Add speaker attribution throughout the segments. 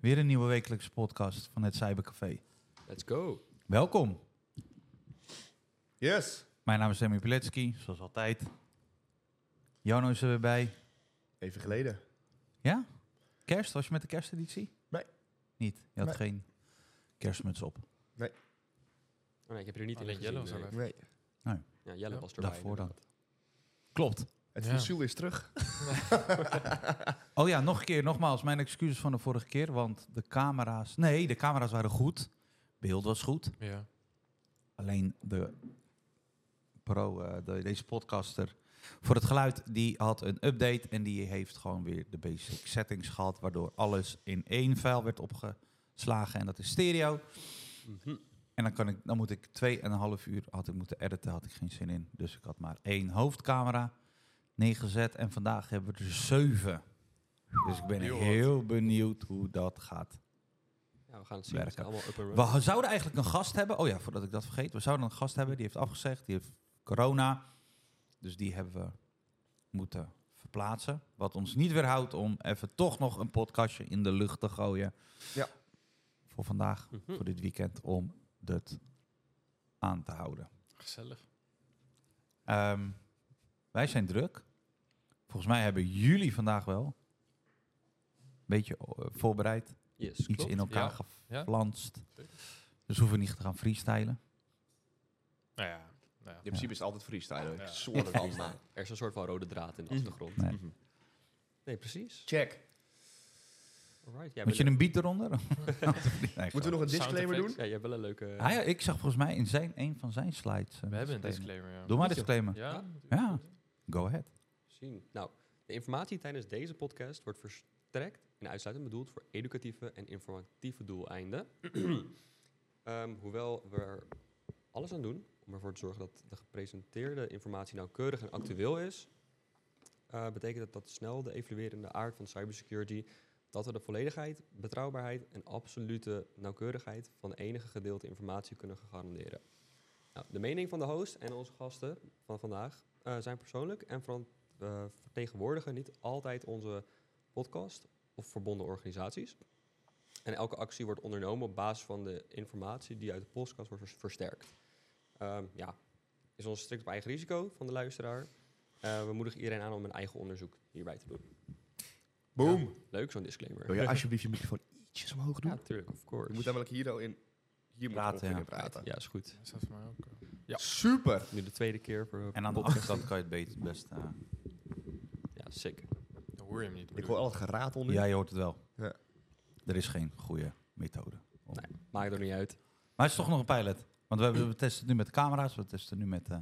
Speaker 1: Weer een nieuwe wekelijkse podcast van het Cybercafé.
Speaker 2: Let's go.
Speaker 1: Welkom.
Speaker 3: Yes.
Speaker 1: Mijn naam is Remy Pilecki, zoals altijd. Jano is er weer bij.
Speaker 3: Even geleden.
Speaker 1: Ja? Kerst? Was je met de kersteditie?
Speaker 3: Nee.
Speaker 1: Niet? Je had
Speaker 3: Nee.
Speaker 1: geen kerstmuts op.
Speaker 2: Oh nee, ik heb er niet
Speaker 4: Oh,
Speaker 2: in
Speaker 4: dat
Speaker 2: gezien.
Speaker 4: Jelle was
Speaker 2: nee.
Speaker 4: erbij.
Speaker 3: Nee.
Speaker 2: Ja, Jelle was erbij.
Speaker 1: Daarvoor dan.
Speaker 2: inderdaad.
Speaker 1: Klopt.
Speaker 3: Het
Speaker 4: Ja.
Speaker 3: fossiel is terug.
Speaker 1: Oh ja, nog een keer, nogmaals, mijn excuses van de vorige keer, want de camera's... Nee, de camera's waren goed. Beeld was goed.
Speaker 4: Ja.
Speaker 1: Alleen de pro, eh, de- deze podcaster, voor het geluid, die had een update en die heeft gewoon weer de basic settings gehad, waardoor alles in één file werd opgeslagen en dat is stereo.
Speaker 2: Mhm.
Speaker 1: En dan, kan ik, dan moet ik twee en een half uur, had ik moeten editen, had ik geen zin in. Dus ik had maar één hoofdcamera neergezet en vandaag hebben we er zeven. Dus ik ben
Speaker 4: Heel wat.
Speaker 1: heel benieuwd hoe dat gaat
Speaker 2: Ja, we gaan het zien. Het is
Speaker 1: Werken.
Speaker 2: allemaal up and
Speaker 1: we zouden eigenlijk een gast hebben. Oh ja, voordat ik dat vergeet. We zouden een gast hebben. Die heeft afgezegd. Die heeft corona. Dus die hebben we moeten verplaatsen. Wat ons niet weerhoudt om even toch nog een podcastje in de lucht te gooien.
Speaker 3: Ja.
Speaker 1: Voor vandaag,
Speaker 2: Mhm.
Speaker 1: voor dit weekend. Om het aan te houden.
Speaker 4: Gezellig.
Speaker 1: Ehm, wij zijn druk. Volgens mij hebben jullie vandaag wel een beetje eh, voorbereid.
Speaker 2: Yes,
Speaker 1: Iets
Speaker 2: klopt.
Speaker 1: in elkaar
Speaker 4: Ja.
Speaker 1: geflanst.
Speaker 4: Zeker.
Speaker 1: Dus hoeven we niet te gaan freestylen.
Speaker 4: Nou ja. Nou
Speaker 3: In
Speaker 4: ja.
Speaker 3: principe is het altijd freestyle.
Speaker 4: Ja.
Speaker 3: Soort van. maar-
Speaker 2: Er is een soort van rode draad in de
Speaker 3: Mhm.
Speaker 2: achtergrond.
Speaker 1: Nee.
Speaker 3: Mhm.
Speaker 2: Nee, precies.
Speaker 3: Check.
Speaker 2: Alright. Jij
Speaker 1: Moet je
Speaker 2: bent-
Speaker 1: een beat eronder? nee,
Speaker 3: Moeten we nog een disclaimer
Speaker 4: effects.
Speaker 3: doen?
Speaker 2: Ja, jij hebt wel een leuke...
Speaker 1: Ah ja, ik zag volgens mij in zijn, een van zijn slides. eh,
Speaker 4: We hebben een
Speaker 1: disclaimer.
Speaker 4: disclaimer. Ja.
Speaker 1: Doe maar een disclaimer.
Speaker 4: Ja.
Speaker 1: Ja. Go ahead.
Speaker 2: zien. Nou, de informatie tijdens deze podcast wordt verstrekt en uitsluitend bedoeld voor educatieve en informatieve doeleinden. Ehm, hoewel we er alles aan doen om ervoor te zorgen dat de gepresenteerde informatie nauwkeurig en actueel is, eh, betekent dat dat snel de evoluerende aard van cybersecurity dat we de volledigheid, betrouwbaarheid en absolute nauwkeurigheid van enige gedeelte informatie kunnen garanderen. Nou, de mening van de host en onze gasten van vandaag eh, zijn persoonlijk en verant eh, vertegenwoordigen niet altijd onze podcast of verbonden organisaties. En elke actie wordt ondernomen op basis van de informatie die uit de podcast wordt vers- versterkt. Ehm, ja, is ons strikt op eigen risico van de luisteraar. Eh, we moedigen iedereen aan om een eigen onderzoek hierbij te doen.
Speaker 3: Boom.
Speaker 2: Leuk zo'n disclaimer.
Speaker 3: Wil je alsjeblieft je microfoon ietsjes omhoog doen?
Speaker 2: Ja, tuurlijk, of
Speaker 3: Je
Speaker 2: course.
Speaker 3: moet namelijk hier al in. Hier moet je
Speaker 1: Praten,
Speaker 3: ongeveer
Speaker 1: ja.
Speaker 3: in praten.
Speaker 2: Ja, is goed.
Speaker 4: Is dat voor mij ook? eh, Ja.
Speaker 3: Super.
Speaker 2: Nu de tweede keer voor
Speaker 1: En aan de
Speaker 2: podcast.
Speaker 1: achterkant kan je het beter best... eh,
Speaker 2: Ja, sick.
Speaker 4: Dan hoor je hem niet.
Speaker 3: Ik hoor al het geratel nu.
Speaker 1: ja, je hoort het wel.
Speaker 3: Ja.
Speaker 1: Er is geen goede methode.
Speaker 2: Maakt er niet uit.
Speaker 1: Maar het is toch nog een pilot. Want we, hebben, we testen het nu met camera's. We testen het nu met... eh,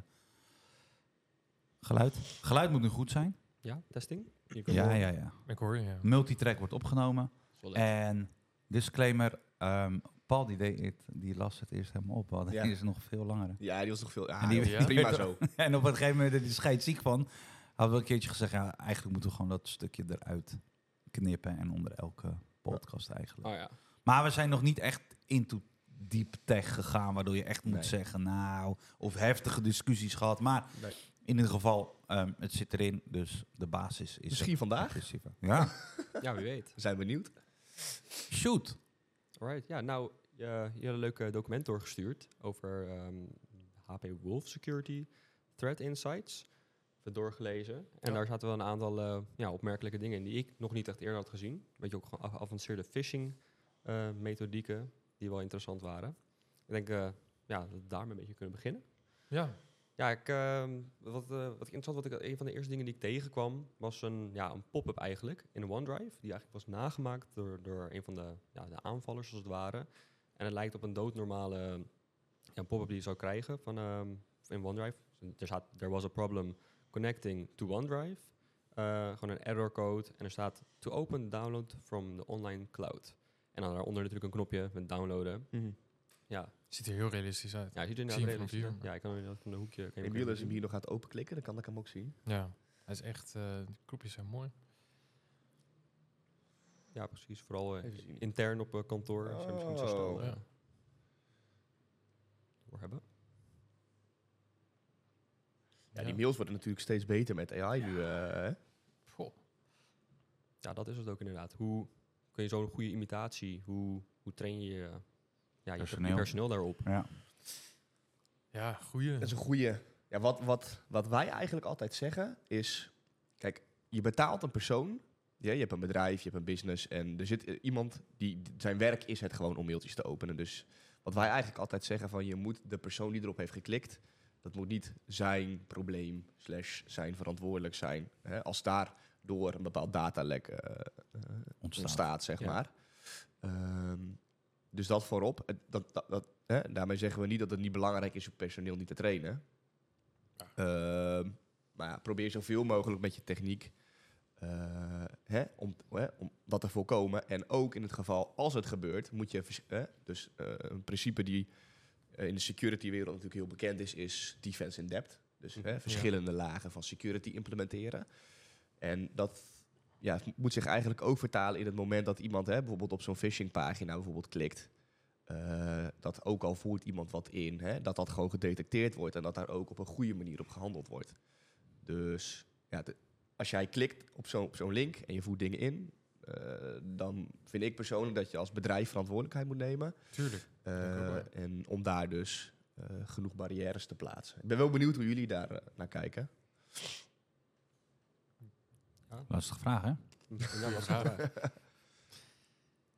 Speaker 1: geluid. Geluid moet nu goed zijn.
Speaker 2: Ja, testing. Hier komen
Speaker 1: Ja, Eh,
Speaker 2: we.
Speaker 1: ja, ja.
Speaker 4: Ik hoor je, ja.
Speaker 1: Mm. Multitrack wordt opgenomen.
Speaker 2: Is wel leuk.
Speaker 1: En disclaimer... ehm, Paul die, deed het, die las het eerst helemaal op. want
Speaker 3: Ja.
Speaker 1: Die is nog veel langer.
Speaker 3: Ja, die was nog veel.
Speaker 1: En
Speaker 3: Ah, Ja,
Speaker 1: die-
Speaker 3: joh,
Speaker 4: die-
Speaker 3: prima zo.
Speaker 1: En op een gegeven moment, daar is scheidt ziek van, had wel een keertje gezegd, ja, eigenlijk moeten we gewoon dat stukje eruit knippen en onder elke podcast eigenlijk.
Speaker 2: Oh ja.
Speaker 1: Maar we zijn nog niet echt into deep tech gegaan, waardoor je echt moet
Speaker 3: Nee.
Speaker 1: zeggen, nou, of heftige discussies gehad. Maar
Speaker 3: Nee.
Speaker 1: in ieder geval, ehm, het zit erin, dus de basis is...
Speaker 3: Misschien vandaag.
Speaker 1: Principe. Ja,
Speaker 2: ja, wie weet.
Speaker 3: We zijn benieuwd.
Speaker 1: shoot.
Speaker 2: Alright, ja, nou, je, je had een leuk eh, document doorgestuurd over ehm, HP Wolf Security Threat Insights. Even doorgelezen. En
Speaker 4: Ja.
Speaker 2: daar zaten wel een aantal eh, ja, opmerkelijke dingen in die ik nog niet echt eerder had gezien. Weet je, ook gewoon geavanceerde phishing eh, methodieken die wel interessant waren. Ik denk eh, ja, dat we daarmee een beetje kunnen beginnen.
Speaker 4: Ja.
Speaker 2: Ja, ik, ehm, wat, eh, wat ik interessant wat ik een van de eerste dingen die ik tegenkwam was een, ja, een pop-up eigenlijk in OneDrive die eigenlijk was nagemaakt door, door een van de, ja, de aanvallers als het ware. En het lijkt op een doodnormale ja, pop-up die je zou krijgen van, ehm, in OneDrive. Er staat, there was a problem connecting to OneDrive. Eh, gewoon een error code en er staat to open download from the online cloud. En dan daaronder natuurlijk een knopje met downloaden.
Speaker 3: Mhm.
Speaker 2: Ja,
Speaker 4: Ziet er heel realistisch uit.
Speaker 2: ja je ziet er
Speaker 4: Zie je
Speaker 2: inderdaad
Speaker 4: hem vanaf
Speaker 2: redelijk-
Speaker 4: hier?
Speaker 2: Ja, ik kan hem inderdaad van de hoekje. kan je
Speaker 3: En
Speaker 2: hem
Speaker 3: Biel
Speaker 2: even
Speaker 3: als je hem
Speaker 2: zien.
Speaker 3: hier nog gaat openklikken, dan kan ik hem ook zien.
Speaker 4: Ja. Hij is echt... eh, de kroepjes zijn mooi.
Speaker 2: Ja, precies. Vooral eh,
Speaker 3: Even zien.
Speaker 2: intern op eh, kantoor. Zijn misschien zo snel
Speaker 3: Oh.
Speaker 2: eh,
Speaker 4: Ja.
Speaker 2: doorhebben.
Speaker 3: Ja, die mails worden natuurlijk steeds beter met AI nu. eh, hè?
Speaker 4: Goh.
Speaker 2: Ja, dat is het ook inderdaad. Hoe kun je zo'n goede imitatie, hoe, hoe train je eh, ja, je
Speaker 1: Personeel.
Speaker 2: personeel. personeel daarop?
Speaker 1: Ja.
Speaker 4: Ja, goeie.
Speaker 3: Dat is een goede. Ja, wat, wat, wat wij eigenlijk altijd zeggen is: kijk, je betaalt een persoon. Ja, je hebt een bedrijf, je hebt een business. En er zit eh, iemand die. Zijn werk is het gewoon om mailtjes te openen. Dus wat wij eigenlijk altijd zeggen: van je moet de persoon die erop heeft geklikt. Dat moet niet zijn probleem, slash zijn verantwoordelijk zijn. Hè, als daar door een bepaald datalek eh, eh,
Speaker 1: Ontstaat.
Speaker 3: ontstaat, zeg
Speaker 2: Ja.
Speaker 3: maar. Ehm, dus dat voorop. Het- Dat, dat, dat, hè, daarmee zeggen we niet dat het niet belangrijk is om personeel niet te trainen. Ehm, maar ja, probeer zoveel mogelijk met je techniek eh, hè, om, hè, om dat te voorkomen. En ook in het geval, als het gebeurt, moet je... vers- Hè, dus eh, een principe die eh, in de security-wereld natuurlijk heel bekend is, is defense in depth. Dus
Speaker 2: Mhm.
Speaker 3: hè, verschillende lagen van security implementeren. En dat ja, het moet zich eigenlijk ook vertalen in het moment dat iemand hè, bijvoorbeeld op zo'n phishingpagina bijvoorbeeld klikt. eh, dat ook al voert iemand wat in, hè, dat dat gewoon gedetecteerd wordt en dat daar ook op een goede manier op gehandeld wordt. Dus ja, de- als jij klikt op zo'n op zo'n link en je voert dingen in, eh, dan vind ik persoonlijk dat je als bedrijf verantwoordelijkheid moet nemen.
Speaker 4: Tuurlijk.
Speaker 3: eh,
Speaker 4: ik ook wel.
Speaker 3: en om daar dus eh, genoeg barrières te plaatsen. Ik ben wel benieuwd hoe jullie daar eh, naar kijken.
Speaker 1: Lastige vraag, hè?
Speaker 2: Ja, dat is
Speaker 4: Ja.
Speaker 2: waar.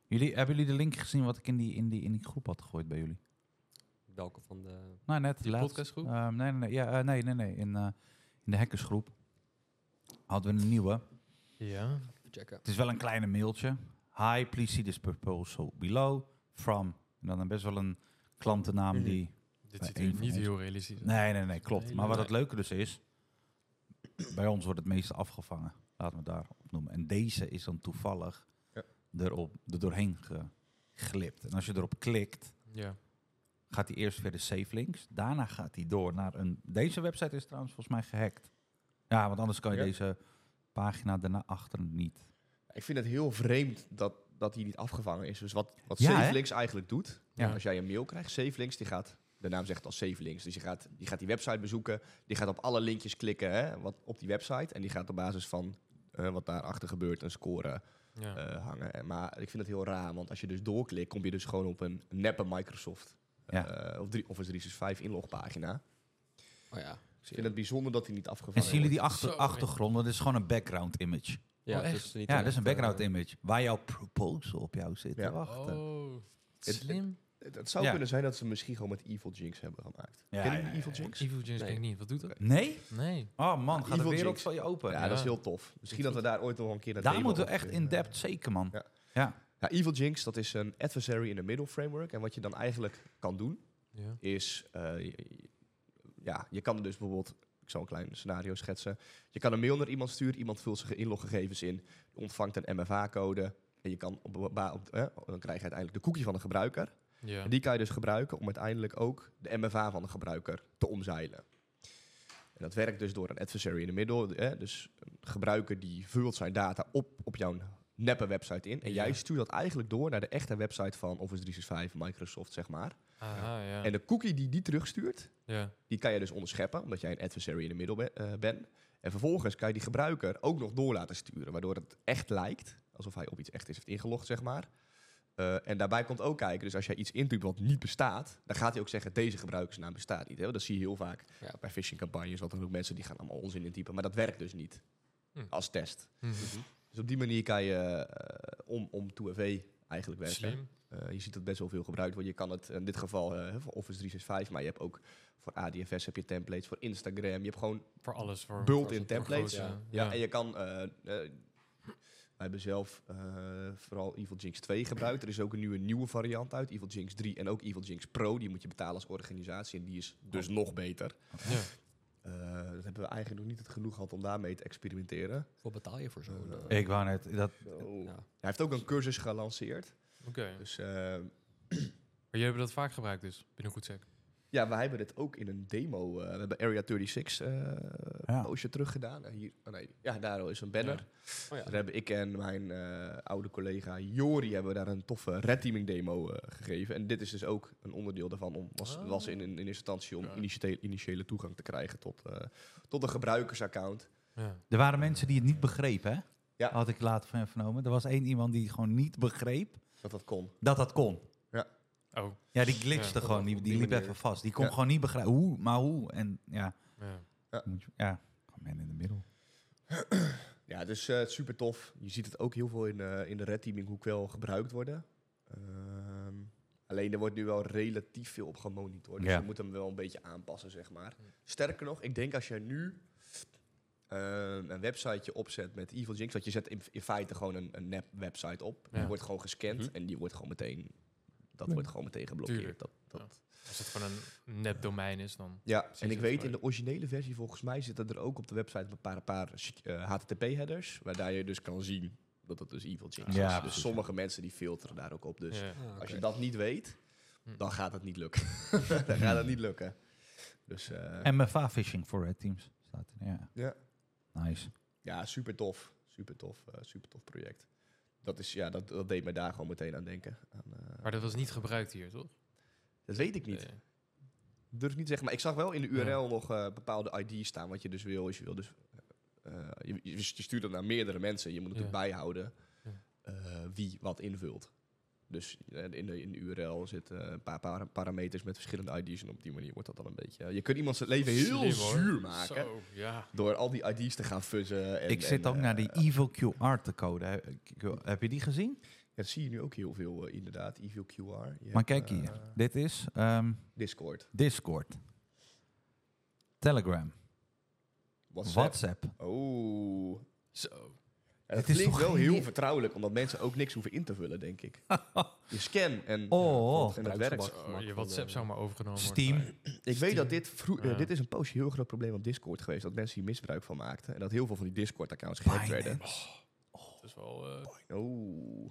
Speaker 1: Jullie, hebben jullie de link gezien wat ik in die, in die, in die groep had gegooid bij jullie?
Speaker 2: Welke van de...
Speaker 1: Nou, net
Speaker 4: Die
Speaker 1: laatst.
Speaker 4: podcastgroep?
Speaker 1: Ehm, nee, nee, nee, ja, eh, nee, nee, nee. In, eh, in de hackersgroep hadden we een nieuwe.
Speaker 4: Ja.
Speaker 2: Even checken.
Speaker 1: Het is wel een kleine mailtje. Hi, please see this proposal below. From. En dan best wel een klantennaam
Speaker 3: Mhm.
Speaker 1: die...
Speaker 4: Dit
Speaker 1: Bij
Speaker 4: ziet
Speaker 1: één
Speaker 4: er
Speaker 1: van
Speaker 4: niet
Speaker 1: ons.
Speaker 4: heel realistisch uit.
Speaker 1: Nee, nee, nee, klopt.
Speaker 4: Nee,
Speaker 1: Maar wat
Speaker 4: nee.
Speaker 1: het leuke dus is... Bij ons wordt het meeste afgevangen. Laten we het daarop noemen. En deze is dan toevallig
Speaker 3: Ja.
Speaker 1: erop, er doorheen ge- glipt. En als je erop klikt...
Speaker 4: Ja.
Speaker 1: gaat hij eerst via de safe links. Daarna gaat hij door naar een. Deze website is trouwens volgens mij gehackt. Ja, want anders kan je
Speaker 3: Ja.
Speaker 1: deze pagina daarna achter niet.
Speaker 3: Ik vind het heel vreemd dat, dat die niet afgevangen is. Dus wat, wat
Speaker 1: Ja, hè?
Speaker 3: SafeLinks eigenlijk doet,
Speaker 4: Ja.
Speaker 3: als jij een mail krijgt, SafeLinks die gaat, de naam zegt al SafeLinks, dus die gaat, die gaat die website bezoeken, die gaat op alle linkjes klikken hè, wat, op die website en die gaat op basis van eh, wat daarachter gebeurt een score
Speaker 4: Ja.
Speaker 3: eh, hangen. En, maar ik vind het heel raar, want als je dus doorklikt, kom je dus gewoon op een neppe Microsoft
Speaker 1: Ja.
Speaker 3: eh, of drie, Office 365 inlogpagina.
Speaker 2: Oh ja.
Speaker 3: Ik vind het bijzonder dat die niet afgevangen
Speaker 1: En zien jullie die
Speaker 4: wordt.
Speaker 1: achter,
Speaker 4: Zo,
Speaker 1: achtergrond? Dat is gewoon een background image.
Speaker 2: Ja, dus
Speaker 4: Oh,
Speaker 2: het
Speaker 4: echt?
Speaker 2: Is niet
Speaker 1: Ja, dat is een
Speaker 2: echt,
Speaker 1: background
Speaker 2: eh,
Speaker 1: image. Waar jouw proposal op jou zit te
Speaker 3: Ja.
Speaker 1: wachten.
Speaker 4: Oh.
Speaker 3: Het-
Speaker 4: Slim.
Speaker 3: wordt. Het zou
Speaker 1: Ja.
Speaker 3: kunnen zijn dat ze misschien gewoon met Evil Jinx hebben gemaakt.
Speaker 1: Ja,
Speaker 3: Kennen
Speaker 1: ja,
Speaker 3: jullie
Speaker 1: ja,
Speaker 3: Evil Jinx?
Speaker 4: Evil Jinx
Speaker 2: Nee.
Speaker 4: denk ik niet. Wat doet dat?
Speaker 1: Nee?
Speaker 4: Nee.
Speaker 1: Oh man,
Speaker 3: Ja,
Speaker 1: gaat de
Speaker 3: Evil
Speaker 1: wereld
Speaker 3: Jinx.
Speaker 1: van je open.
Speaker 3: Ja,
Speaker 4: Ja.
Speaker 3: dat is heel tof. Misschien dat we daar ooit nog wel een keer naar
Speaker 1: Daar
Speaker 3: demo
Speaker 1: moeten we
Speaker 3: over
Speaker 1: echt
Speaker 3: kunnen.
Speaker 1: in depth, zeker man.
Speaker 3: Ja.
Speaker 1: Ja.
Speaker 3: Ja, Evil Jinx, dat is een adversary in the middle framework. En wat je dan eigenlijk kan doen,
Speaker 4: Ja.
Speaker 3: is... eh, je- je- ja, je kan er dus bijvoorbeeld... Ik zal een klein scenario schetsen. Je kan een mail naar iemand sturen. Iemand vult zijn inloggegevens in. Ontvangt een MFA-code. En je kan op, ba- op- eh, dan krijg je uiteindelijk de cookie van de gebruiker.
Speaker 4: Ja.
Speaker 3: En die kan je dus gebruiken om uiteindelijk ook de MFA van de gebruiker te omzeilen. En dat werkt dus door een adversary in de middel. Hè? Dus een gebruiker die vult zijn data op, op jouw neppe website in. En jij
Speaker 4: Ja.
Speaker 3: stuurt dat eigenlijk door naar de echte website van Office 365, Microsoft, zeg maar.
Speaker 4: Aha, ja.
Speaker 3: En de cookie die die terugstuurt,
Speaker 4: ja.
Speaker 3: die kan je dus onderscheppen, omdat jij een adversary in de middel be- eh, bent. En vervolgens kan je die gebruiker ook nog door laten sturen, waardoor het echt lijkt alsof hij op iets echt is heeft ingelogd, zeg maar. Eh, en daarbij komt ook kijken, dus als jij iets intypt wat niet bestaat, dan gaat hij ook zeggen, deze gebruikersnaam bestaat niet. Hè? Want Dat zie je heel vaak
Speaker 2: Ja.
Speaker 3: bij phishingcampagnes, wat dan ook mensen die gaan allemaal onzin intypen. Maar dat werkt dus niet
Speaker 4: Hm.
Speaker 3: als test.
Speaker 4: Mhm.
Speaker 3: Dus op die manier kan je eh, om, om 2FA eigenlijk werken.
Speaker 4: Slim.
Speaker 3: Eh, je ziet dat best wel veel gebruikt wordt. Je kan het in dit geval eh, voor Office 365, maar je hebt ook voor ADFS heb je templates, voor Instagram. Je hebt gewoon,
Speaker 4: Voor alles. Voor,
Speaker 3: Built-in
Speaker 4: voor- voor
Speaker 3: templates.
Speaker 4: grote-
Speaker 2: Ja.
Speaker 3: ja, en je kan, eh, eh, wij hebben zelf eh, vooral Evil Jinx 2 gebruikt. Er is ook een nieuwe, nieuwe variant uit, Evil Jinx 3 en ook Evil Jinx Pro. Die moet je betalen als organisatie en die is dus nog beter.
Speaker 4: Ja.
Speaker 3: Eh, dat hebben we eigenlijk nog niet het genoeg gehad om daarmee te experimenteren.
Speaker 2: Wat betaal je voor zo'n... eh,
Speaker 1: Ik wou net, dat,
Speaker 3: Hij
Speaker 2: ja.
Speaker 3: heeft ook een cursus gelanceerd.
Speaker 4: Oké.
Speaker 3: Dus eh,
Speaker 4: Maar jullie hebben dat vaak gebruikt dus, binnen goed sec.
Speaker 3: Ja, wij hebben dit ook in een demo. eh, we hebben Area 36 eh
Speaker 1: Ja.
Speaker 3: postje teruggedaan. Eh, hier, oh nee, ja, daar is een banner.
Speaker 2: Oh ja.
Speaker 3: Daar hebben ik en mijn eh, oude collega Jori hebben daar een toffe redteaming demo eh, gegeven. En dit is dus ook een onderdeel daarvan. Om, was,
Speaker 4: Ah.
Speaker 3: was in, in, in eerste instantie om
Speaker 4: Ja.
Speaker 3: initiële, initiële toegang te krijgen tot, eh, tot een gebruikersaccount.
Speaker 4: Ja.
Speaker 1: Er waren mensen die het niet begrepen, hè?
Speaker 3: Ja.
Speaker 1: Had ik laat van vernomen. Er was één iemand die gewoon niet begreep
Speaker 3: Dat dat kon.
Speaker 1: dat dat kon.
Speaker 4: Oh,
Speaker 1: Ja, die glitchte
Speaker 4: Ja,
Speaker 1: gewoon.
Speaker 2: op
Speaker 1: Die, die
Speaker 2: die
Speaker 1: liep
Speaker 2: manier.
Speaker 1: even vast. Die kon
Speaker 3: Ja.
Speaker 1: gewoon niet begrijpen. Hoe, maar hoe? En ja,
Speaker 4: ja.
Speaker 1: moet je- ja, gewoon man in de middel.
Speaker 3: Ja, dus eh super tof. Je ziet het ook heel veel in, eh, in de redteaming hoe wel gebruikt worden. Ehm, alleen er wordt nu wel relatief veel op gemonitord. Dus
Speaker 1: Ja.
Speaker 3: je moet hem wel een beetje aanpassen, zeg maar. Sterker nog, ik denk als jij nu eh, een websiteje opzet met Evil Jinx, want je zet in, in feite gewoon een, een nep website op.
Speaker 4: Ja.
Speaker 3: Die wordt gewoon gescand
Speaker 2: Mhm.
Speaker 3: en die wordt gewoon meteen, dat
Speaker 1: Ja.
Speaker 3: wordt gewoon meteen geblokkeerd.
Speaker 4: Tuurlijk.
Speaker 3: Dat, dat.
Speaker 4: Ja. Als het gewoon een nep domein is, dan...
Speaker 3: Ja, en
Speaker 4: dat
Speaker 3: ik weet
Speaker 4: gelijk.
Speaker 3: in de originele versie volgens mij zitten er ook op de website een paar, een paar eh, HTTP-headers, waar je dus kan zien dat het dus Evil Jinx
Speaker 1: Ja,
Speaker 3: is. Dus
Speaker 1: precies,
Speaker 3: sommige mensen die filteren daar ook op. Dus
Speaker 4: Ja.
Speaker 2: Ah, oké.
Speaker 3: als je dat niet weet,
Speaker 4: Hm.
Speaker 3: dan gaat het niet lukken. dan gaat het niet lukken. Dus eh,
Speaker 1: En MFA Fishing for Red Teams staat er. Ja.
Speaker 3: Ja.
Speaker 1: Nice.
Speaker 3: ja, super tof. Super tof, eh, super tof project. Dat, is, ja, dat, dat deed mij daar gewoon meteen aan denken. Aan, eh,
Speaker 4: Hm. Maar dat was niet gebruikt hier, toch?
Speaker 3: dat weet ik niet.
Speaker 4: Nee.
Speaker 3: durf ik niet te zeggen, maar ik zag wel in de
Speaker 4: Ja.
Speaker 3: URL nog eh, bepaalde ID's staan wat je dus wil. Als je wil dus, eh, je, je stuurt dat naar meerdere mensen. Je moet natuurlijk
Speaker 4: Ja.
Speaker 3: bijhouden
Speaker 4: Ja.
Speaker 3: eh, wie wat invult. Dus eh, in, de, in de URL zitten een paar para- parameters met verschillende ID's. En op die manier wordt dat dan een beetje... eh, Je kunt iemands leven heel
Speaker 4: Slim, hoor.
Speaker 3: zuur maken.
Speaker 4: Zo, ja.
Speaker 3: Door al die ID's te gaan fuzzen. En,
Speaker 1: ik zit
Speaker 3: en,
Speaker 1: ook naar
Speaker 3: eh,
Speaker 1: die Evil QR te code. He- Q- Heb je die gezien?
Speaker 3: Dat zie je nu ook heel veel, eh, inderdaad. Evil QR. Je
Speaker 1: maar
Speaker 3: hebt,
Speaker 1: kijk
Speaker 3: eh,
Speaker 1: hier. Dit is ehm,
Speaker 3: Discord.
Speaker 1: Discord. Telegram.
Speaker 3: WhatsApp.
Speaker 1: WhatsApp.
Speaker 3: Oh.
Speaker 4: Zo.
Speaker 3: En
Speaker 1: Het
Speaker 3: het
Speaker 1: is
Speaker 3: klinkt
Speaker 1: toch
Speaker 3: wel
Speaker 1: geen-
Speaker 3: heel vertrouwelijk, omdat mensen ook niks hoeven in te vullen, denk ik. Je scan en,
Speaker 1: Oh.
Speaker 3: en het werkt.
Speaker 2: Gebruiksgemak eh,
Speaker 4: Oh,
Speaker 2: van
Speaker 4: je
Speaker 2: de-
Speaker 4: WhatsApp zou maar overgenomen
Speaker 1: Steam.
Speaker 4: worden.
Speaker 3: Ik weet dat dit vroeg, eh,
Speaker 4: Ja.
Speaker 3: dit is een poosje heel groot probleem op Discord geweest, dat mensen hier misbruik van maakten en dat heel veel van die Discord-accounts gehackt werden.
Speaker 1: Binance.
Speaker 4: Dat is wel... eh,
Speaker 3: Oh,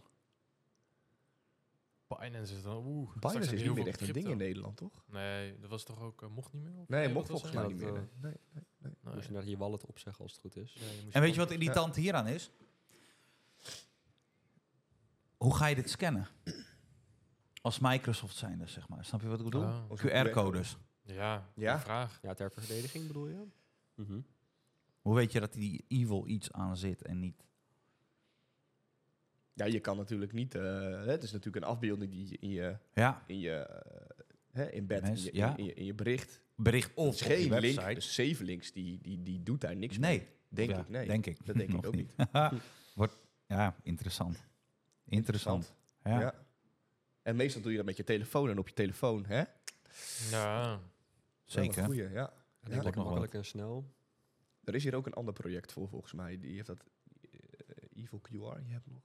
Speaker 4: Binance is dan... Oeh. straks
Speaker 3: Binance
Speaker 4: hebben
Speaker 3: is
Speaker 4: heel
Speaker 3: niet meer
Speaker 4: veel
Speaker 3: echt een ding
Speaker 4: crypto.
Speaker 3: in Nederland, toch?
Speaker 4: Nee, dat was toch ook... eh, mocht niet meer? of-
Speaker 3: Nee, mocht
Speaker 4: wat was
Speaker 3: volgens
Speaker 4: er?
Speaker 3: mij
Speaker 2: dat,
Speaker 3: niet meer.
Speaker 2: eh,
Speaker 3: Nee, nee, nee.
Speaker 4: Nee.
Speaker 2: Moest je naar je wallet opzeggen als het goed is.
Speaker 4: Ja, je moest
Speaker 1: En
Speaker 4: je
Speaker 1: weet je wat
Speaker 4: gewoon-
Speaker 1: irritant hieraan is? Hoe ga je dit scannen? Als Microsoft zijnde, zeg maar. Snap je wat ik bedoel?
Speaker 4: Ah.
Speaker 3: Onze
Speaker 1: QR-codes.
Speaker 4: Ja,
Speaker 3: Ja?
Speaker 4: ja? vraag.
Speaker 2: Ja, ter verdediging bedoel je?
Speaker 4: eh,
Speaker 2: Mhm.
Speaker 1: Hoe weet je dat die evil iets aan zit en niet?
Speaker 3: Ja, je kan natuurlijk niet, eh, het is natuurlijk een afbeelding die je in je,
Speaker 1: Ja,
Speaker 3: in je eh, hè, embed, in
Speaker 1: Mens,
Speaker 3: je,
Speaker 1: ja.
Speaker 3: in, je, in je bericht.
Speaker 1: bericht
Speaker 3: Het
Speaker 1: of
Speaker 3: is
Speaker 1: op die
Speaker 3: geen link,
Speaker 1: website.
Speaker 3: dus save links, die, die, die doet daar niks mee.
Speaker 1: nee,
Speaker 3: Denk
Speaker 1: Ja,
Speaker 3: ik, nee.
Speaker 1: Denk ik.
Speaker 3: Dat denk
Speaker 1: Nog
Speaker 3: ik ook niet.
Speaker 1: Wordt, ja, interessant. Interessant.
Speaker 3: Ja.
Speaker 1: Ja.
Speaker 3: En meestal doe je dat met je telefoon en op je telefoon, hè?
Speaker 4: Ja.
Speaker 1: zeker.
Speaker 3: Goeie, ja.
Speaker 2: Ik denk
Speaker 1: nog
Speaker 2: lekker
Speaker 1: wat.
Speaker 2: makkelijk en snel.
Speaker 3: Er is hier ook een ander project voor, volgens mij. Die heeft dat eh, Evil QR, je hebt nog.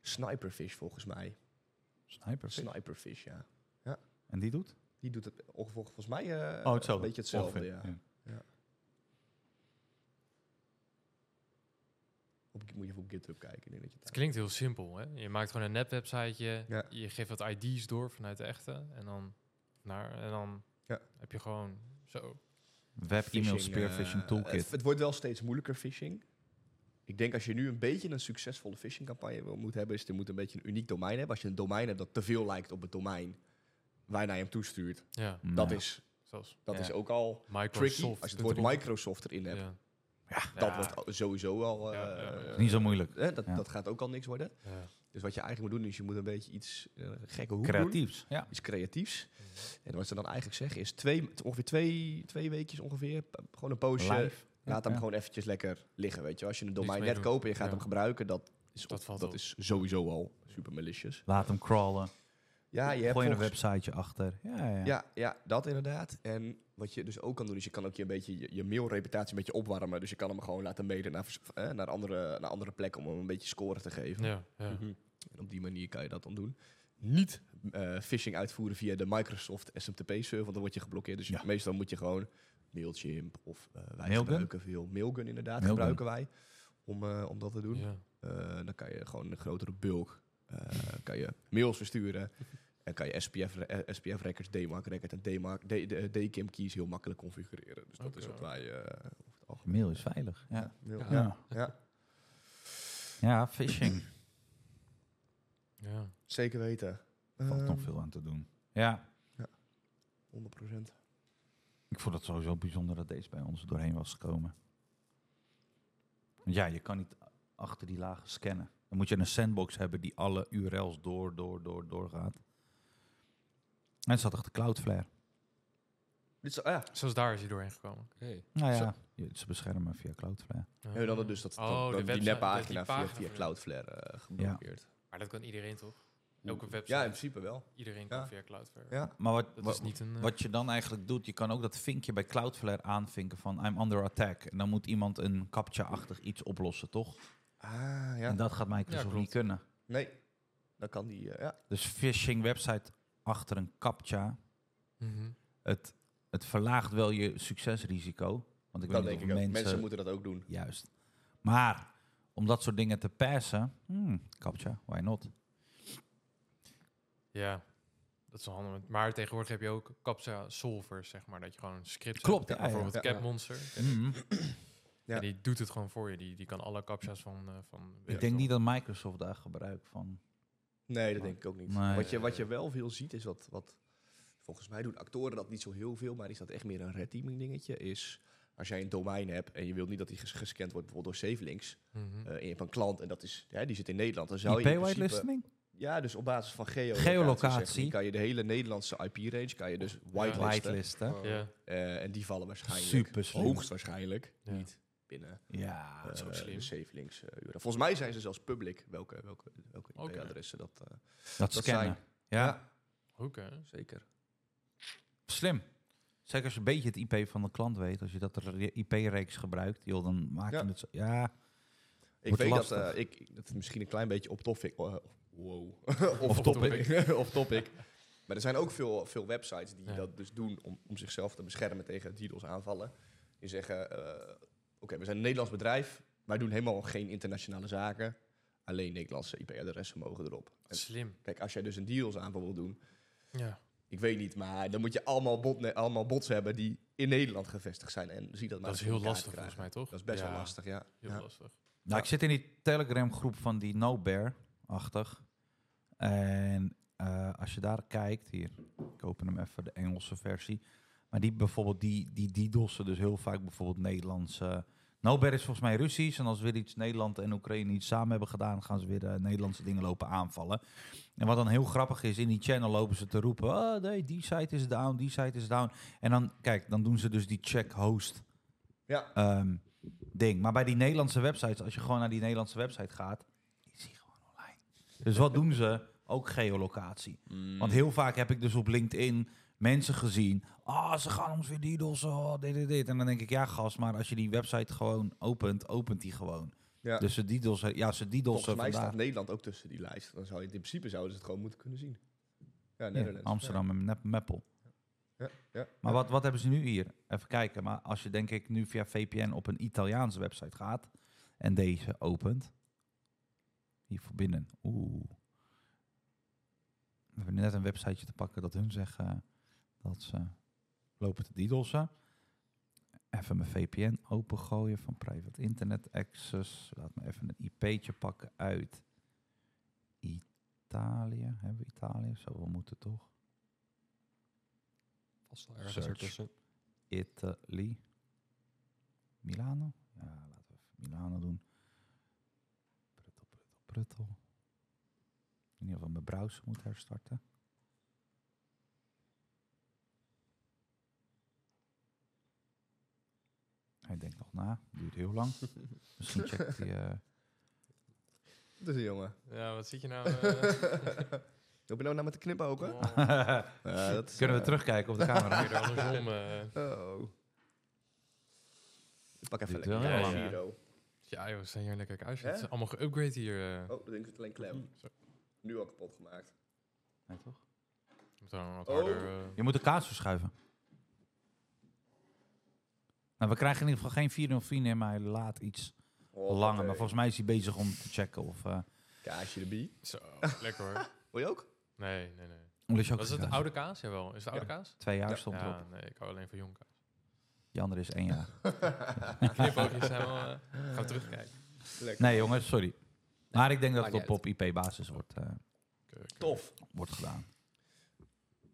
Speaker 3: Sniperfish, volgens mij.
Speaker 1: Sniper.
Speaker 3: Sniperfish, ja.
Speaker 1: En die doet?
Speaker 3: Die doet het ongeveer, volgens mij eh,
Speaker 1: Oh,
Speaker 3: een beetje hetzelfde,
Speaker 1: Ongeveer,
Speaker 3: ja. Op, moet je even op GitHub kijken. ik Denk dat je
Speaker 4: Het
Speaker 3: het
Speaker 4: klinkt heel simpel, hè? Je maakt gewoon een nep websiteje,
Speaker 3: Ja.
Speaker 4: je geeft wat ID's door vanuit de echte en dan, naar, en dan
Speaker 3: Ja.
Speaker 4: heb je gewoon zo.
Speaker 1: Web, e-mail,
Speaker 3: Phishing,
Speaker 1: spear,
Speaker 3: eh,
Speaker 1: phishing,
Speaker 3: Het,
Speaker 1: toolkit.
Speaker 3: het wordt wel steeds moeilijker, phishing. Ik denk als je nu een beetje een succesvolle phishingcampagne wil- moet hebben, is er moet een beetje een uniek domein hebben. Als je een domein hebt dat te veel lijkt op het domein waar je naar hem toestuurt,
Speaker 4: Ja,
Speaker 3: dat,
Speaker 1: Ja.
Speaker 3: is,
Speaker 4: zoals
Speaker 3: dat
Speaker 1: Ja.
Speaker 3: is ook al
Speaker 4: Microsoft.
Speaker 3: tricky. Als je het woord Microsoft erin hebt,
Speaker 4: Ja.
Speaker 3: dat
Speaker 4: Ja.
Speaker 3: wordt al- sowieso al... eh,
Speaker 4: Ja, ja, ja.
Speaker 1: Niet zo moeilijk.
Speaker 3: hè, dat,
Speaker 1: Ja.
Speaker 3: dat gaat ook al niks worden.
Speaker 4: Ja.
Speaker 3: Dus wat je eigenlijk moet doen, is je moet een beetje iets eh, gekke hoek doen.
Speaker 1: Creatiefs. Ja.
Speaker 3: Iets creatiefs. En wat ze dan eigenlijk zeggen is twee, ongeveer twee, twee weekjes ongeveer. p- Gewoon een poosje.
Speaker 1: Live.
Speaker 3: Laat hem
Speaker 1: Ja.
Speaker 3: gewoon eventjes lekker liggen, weet je. Als je een domein
Speaker 4: mee
Speaker 3: net
Speaker 4: doen.
Speaker 3: koopt en je gaat
Speaker 4: Ja.
Speaker 3: hem gebruiken, dat is,
Speaker 4: Dat
Speaker 3: op-
Speaker 4: valt
Speaker 3: dat
Speaker 4: op.
Speaker 3: is sowieso al super malicious.
Speaker 1: Laat hem crawlen.
Speaker 3: Ja, je hebt
Speaker 1: Gooi er een
Speaker 3: volgens-
Speaker 1: websiteje achter. Ja, ja. ja.
Speaker 3: Ja, ja, dat inderdaad. En wat je dus ook kan doen, is je kan ook je, een beetje je, je mailreputatie een beetje opwarmen. Dus je kan hem gewoon laten mailen naar, vers- eh, naar, andere, naar andere plekken om hem een beetje score te geven.
Speaker 4: Ja, ja.
Speaker 2: Mhm.
Speaker 3: En op die manier kan je dat dan doen. Niet eh, phishing uitvoeren via de Microsoft SMTP-server, want dan word je geblokkeerd. Dus
Speaker 1: Ja.
Speaker 3: meestal moet je gewoon Mailchimp of eh, wij
Speaker 1: Mailgun?
Speaker 3: gebruiken veel Mailgun inderdaad,
Speaker 1: Mailgun.
Speaker 3: gebruiken wij om, eh, om dat te doen.
Speaker 4: Ja.
Speaker 3: Eh, dan kan je gewoon een grotere bulk eh, kan je mails versturen. Dan kan je SPF, re- eh, SPF records, DMARC record en DMARC, D- de- eh, DKIM keys heel makkelijk configureren. Dus dat
Speaker 4: Oké.
Speaker 3: is wat wij eh, over het algemeen.
Speaker 1: Mail is veilig. Ja,
Speaker 3: heel-
Speaker 4: Ja.
Speaker 1: ja.
Speaker 3: ja,
Speaker 1: ja phishing.
Speaker 3: Eh.
Speaker 4: Ja.
Speaker 3: zeker weten.
Speaker 1: valt nog
Speaker 3: Ehm,
Speaker 1: veel aan te doen. Ja,
Speaker 3: 100%.
Speaker 1: ik vond het sowieso bijzonder dat deze bij ons er doorheen was gekomen. Want ja, je kan niet a- achter die lagen scannen. Dan moet je een sandbox hebben die alle URL's door, door, door, doorgaat. En het zat achter Cloudflare.
Speaker 3: Dit is, ah ja,
Speaker 4: Zoals daar is hij doorheen gekomen.
Speaker 2: Hey.
Speaker 1: Nou
Speaker 3: Zo.
Speaker 1: ja, je- ze beschermen via Cloudflare.
Speaker 3: Ja, dan dat dus dat,
Speaker 4: Oh,
Speaker 3: dat- dat
Speaker 4: de website-
Speaker 3: die
Speaker 4: dat-
Speaker 3: neppagina
Speaker 4: die
Speaker 3: via,
Speaker 4: pagina
Speaker 3: via
Speaker 4: van-
Speaker 3: Cloudflare eh, geblokkeerd.
Speaker 4: Maar dat kan iedereen toch? Elke website.
Speaker 3: Ja, in principe wel.
Speaker 4: Iedereen
Speaker 3: Ja.
Speaker 4: kan via Cloudflare.
Speaker 3: Ja.
Speaker 1: Maar wat,
Speaker 4: Dat
Speaker 1: wa-
Speaker 4: is niet een... eh,
Speaker 1: wat je dan eigenlijk doet, je kan ook dat vinkje bij Cloudflare aanvinken van I'm under attack. En dan moet iemand een captcha-achtig iets oplossen, toch?
Speaker 3: Ah, ja.
Speaker 1: En dat gaat
Speaker 4: Ja,
Speaker 1: Microsoft
Speaker 4: klopt.
Speaker 1: niet kunnen.
Speaker 3: Nee, dan kan die... eh, ja.
Speaker 1: Dus phishing website achter een captcha,
Speaker 4: mhm.
Speaker 1: het, het verlaagt wel je succesrisico. Want ik
Speaker 3: dat
Speaker 1: weet
Speaker 3: denk
Speaker 1: niet
Speaker 3: ik
Speaker 1: of
Speaker 3: ook.
Speaker 1: mensen,
Speaker 3: Mensen, moeten dat ook doen.
Speaker 1: Juist. Maar om dat soort dingen te passen, hmm, captcha, why not?
Speaker 4: Ja, dat is wel handig. Maar tegenwoordig heb je ook captcha solvers, zeg maar. Dat je gewoon scripts
Speaker 1: Klopt,
Speaker 4: hebt.
Speaker 1: ja, ja.
Speaker 4: bijvoorbeeld
Speaker 3: Ja.
Speaker 4: Capmonster.
Speaker 1: Hmm.
Speaker 3: Ja.
Speaker 4: En die doet het gewoon voor je. Die, die kan alle captcha's van... eh, van
Speaker 1: Ik denk niet dat Microsoft daar gebruik van...
Speaker 3: Nee, dat denk ik ook niet.
Speaker 1: Nee.
Speaker 4: Ah,
Speaker 3: Wat, je, wat je wel veel ziet is wat, wat... Volgens mij doen actoren dat niet zo heel veel, maar is dat echt meer een red teaming dingetje. Is als jij een domein hebt en je wilt niet dat die ges- gescand wordt bijvoorbeeld door SafeLinks.
Speaker 4: Mhm. Hm.
Speaker 3: eh, en je hebt een klant en dat is, ja, die zit in Nederland. Dan zou je in principe-
Speaker 1: IP-whitelisting?
Speaker 3: Ja, dus op basis van geolocatie,
Speaker 1: Geolocatie.
Speaker 3: zeg je, kan je de hele Nederlandse IP-range kan je dus whitelisten.
Speaker 1: Whitelisten.
Speaker 4: Ja,
Speaker 3: Eh, en die vallen waarschijnlijk.
Speaker 1: Super slim.
Speaker 3: Hoogstwaarschijnlijk
Speaker 4: Ja. Ah,
Speaker 3: niet binnen.
Speaker 1: Ja,
Speaker 3: eh,
Speaker 4: dat is ook slim.
Speaker 3: de safe links. eh, URL. Volgens mij zijn ze zelfs public welke, welke, welke
Speaker 4: Oké.
Speaker 3: IP-adressen dat, eh,
Speaker 1: dat
Speaker 3: dat
Speaker 1: scannen.
Speaker 3: zijn.
Speaker 1: ja.
Speaker 4: ook hè.
Speaker 3: Zeker.
Speaker 1: Slim. Zeker als je een beetje het IP van de klant weet. Als je dat re- IP-reeks gebruikt, joh, dan maak je
Speaker 3: Ja.
Speaker 1: het zo... Ja,
Speaker 3: Ik
Speaker 1: Wordt
Speaker 3: weet dat
Speaker 1: lastig.
Speaker 3: eh, ik, dat is misschien een klein beetje op topic. oh, wow.
Speaker 4: Off
Speaker 3: Off
Speaker 4: topic.
Speaker 3: topic. Off topic. Maar er zijn ook veel, veel websites die
Speaker 4: Ja.
Speaker 3: dat dus doen om, om zichzelf te beschermen tegen DDoS aanvallen. Die zeggen, eh, oké, we zijn een Nederlands bedrijf. Wij doen helemaal geen internationale zaken. Alleen Nederlandse IP-adressen mogen erop. En
Speaker 4: Slim.
Speaker 3: kijk, als jij dus een DDoS aanval wil doen,
Speaker 4: Ja.
Speaker 3: Ik weet niet, maar dan moet je allemaal, botne- allemaal bots hebben die in Nederland gevestigd zijn. En zie dat maar
Speaker 4: Dat is
Speaker 3: eens
Speaker 4: heel
Speaker 3: voor elkaar
Speaker 4: lastig
Speaker 3: te
Speaker 4: volgens
Speaker 3: krijgen.
Speaker 4: mij, toch?
Speaker 3: Dat is best
Speaker 4: Ja,
Speaker 3: wel lastig, ja.
Speaker 4: Heel
Speaker 3: Ja.
Speaker 4: lastig.
Speaker 1: Nou,
Speaker 3: Ja.
Speaker 1: ik zit in die Telegram-groep van die No Bear-achtig. En eh, als je daar kijkt, hier, ik open hem even, de Engelse versie. Maar die bijvoorbeeld, die, die, die dossen dus heel vaak bijvoorbeeld Nederlandse... No Bear is volgens mij Russisch. En als weer iets Nederland en Oekraïne iets samen hebben gedaan, gaan ze weer eh, Nederlandse dingen lopen aanvallen. En wat dan heel grappig is, in die channel lopen ze te roepen, oh nee, die site is down, die site is down. En dan, kijk, dan doen ze dus die check host
Speaker 3: Ja,
Speaker 1: ehm, ding. Maar bij die Nederlandse websites, als je gewoon naar die Nederlandse website gaat, is die gewoon online. Dus wat doen ze? Ook geolocatie.
Speaker 3: Mm.
Speaker 1: Want heel vaak heb ik dus op LinkedIn mensen gezien. Ah, ze gaan ons weer diedelsen, oh, dit, dit, dit. En dan denk ik, ja gast, maar als je die website gewoon opent, opent die gewoon.
Speaker 3: ja.
Speaker 1: Dus ze diedelsen, ja, ze
Speaker 3: volgens
Speaker 1: diedelsen
Speaker 3: mij staat
Speaker 1: vandaag.
Speaker 3: Nederland ook tussen die lijst. Dan zou je, in principe zouden ze het gewoon moeten kunnen zien. Ja,
Speaker 1: Ja,
Speaker 3: Nederland.
Speaker 1: Amsterdam en Nep- Meppel.
Speaker 3: Ja, ja.
Speaker 1: Maar wat, wat hebben ze nu hier? Even kijken. Maar als je denk ik nu via VPN op een Italiaanse website gaat en deze opent. Hier voor binnen. Oeh. We hebben net een websiteje te pakken dat hun zeggen dat ze lopen te diedelsen. Even mijn VPN opengooien van private internet access. Laat me even een IP'tje pakken uit Italië. Hebben we Italië? Zou wel moeten toch?
Speaker 2: Vast wel ergens
Speaker 1: Search.
Speaker 2: ertussen.
Speaker 1: Italy. Milano? Ja, laten we even Milano doen. Pruttel, pruttel, pruttel. In ieder geval mijn browser moet herstarten. Hij denkt nog na, duurt heel lang. Misschien checkt hij... eh,
Speaker 3: Dat is een jongen.
Speaker 4: Ja, wat zit je nou? eh,
Speaker 3: Heb je nou naar met de knippen ook, hè?
Speaker 4: oh,
Speaker 3: Eh, dat is,
Speaker 1: Kunnen we
Speaker 3: eh,
Speaker 1: terugkijken op de camera?
Speaker 4: weer andersom. eh.
Speaker 3: Oh. Ik pak even
Speaker 1: Duurt
Speaker 3: lekker
Speaker 1: wel
Speaker 4: heel
Speaker 3: een
Speaker 4: lang.
Speaker 3: Giro.
Speaker 4: Ja, joh, we zijn hier lekker uit. Het is
Speaker 3: Hè?
Speaker 4: allemaal geüpgrade hier. eh.
Speaker 3: Oh, dan denk ik het alleen klem.
Speaker 4: Zo.
Speaker 3: Nu al kapot gemaakt.
Speaker 1: Nee, toch?
Speaker 4: Moet dan wat
Speaker 3: Oh.
Speaker 4: harder. eh.
Speaker 1: Je moet de kaas verschuiven. Nou, we krijgen in ieder geval geen 404 neer, maar hij laat iets
Speaker 3: Oh,
Speaker 1: langer.
Speaker 3: oké.
Speaker 1: Maar volgens mij is hij bezig om te checken of... eh,
Speaker 3: Kaasje de bie.
Speaker 4: Zo, lekker hoor.
Speaker 3: Wil je ook?
Speaker 4: Nee, nee, nee.
Speaker 1: Lusjak
Speaker 4: Was dat de
Speaker 1: kaas.
Speaker 4: oude kaas? Jawel. Is het oude kaas?
Speaker 1: Twee jaar
Speaker 3: Ja.
Speaker 1: stond
Speaker 4: ja,
Speaker 1: erop.
Speaker 4: nee, ik hou alleen van jong kaas.
Speaker 1: Die andere is één jaar.
Speaker 4: Knipoogjes zijn wel... eh, gaan we terugkijken.
Speaker 1: Nee, jongens, sorry. Maar ik denk dat
Speaker 2: Maakt
Speaker 1: het
Speaker 2: niet
Speaker 1: op, op IP-basis wordt, eh,
Speaker 3: Tof.
Speaker 1: wordt gedaan.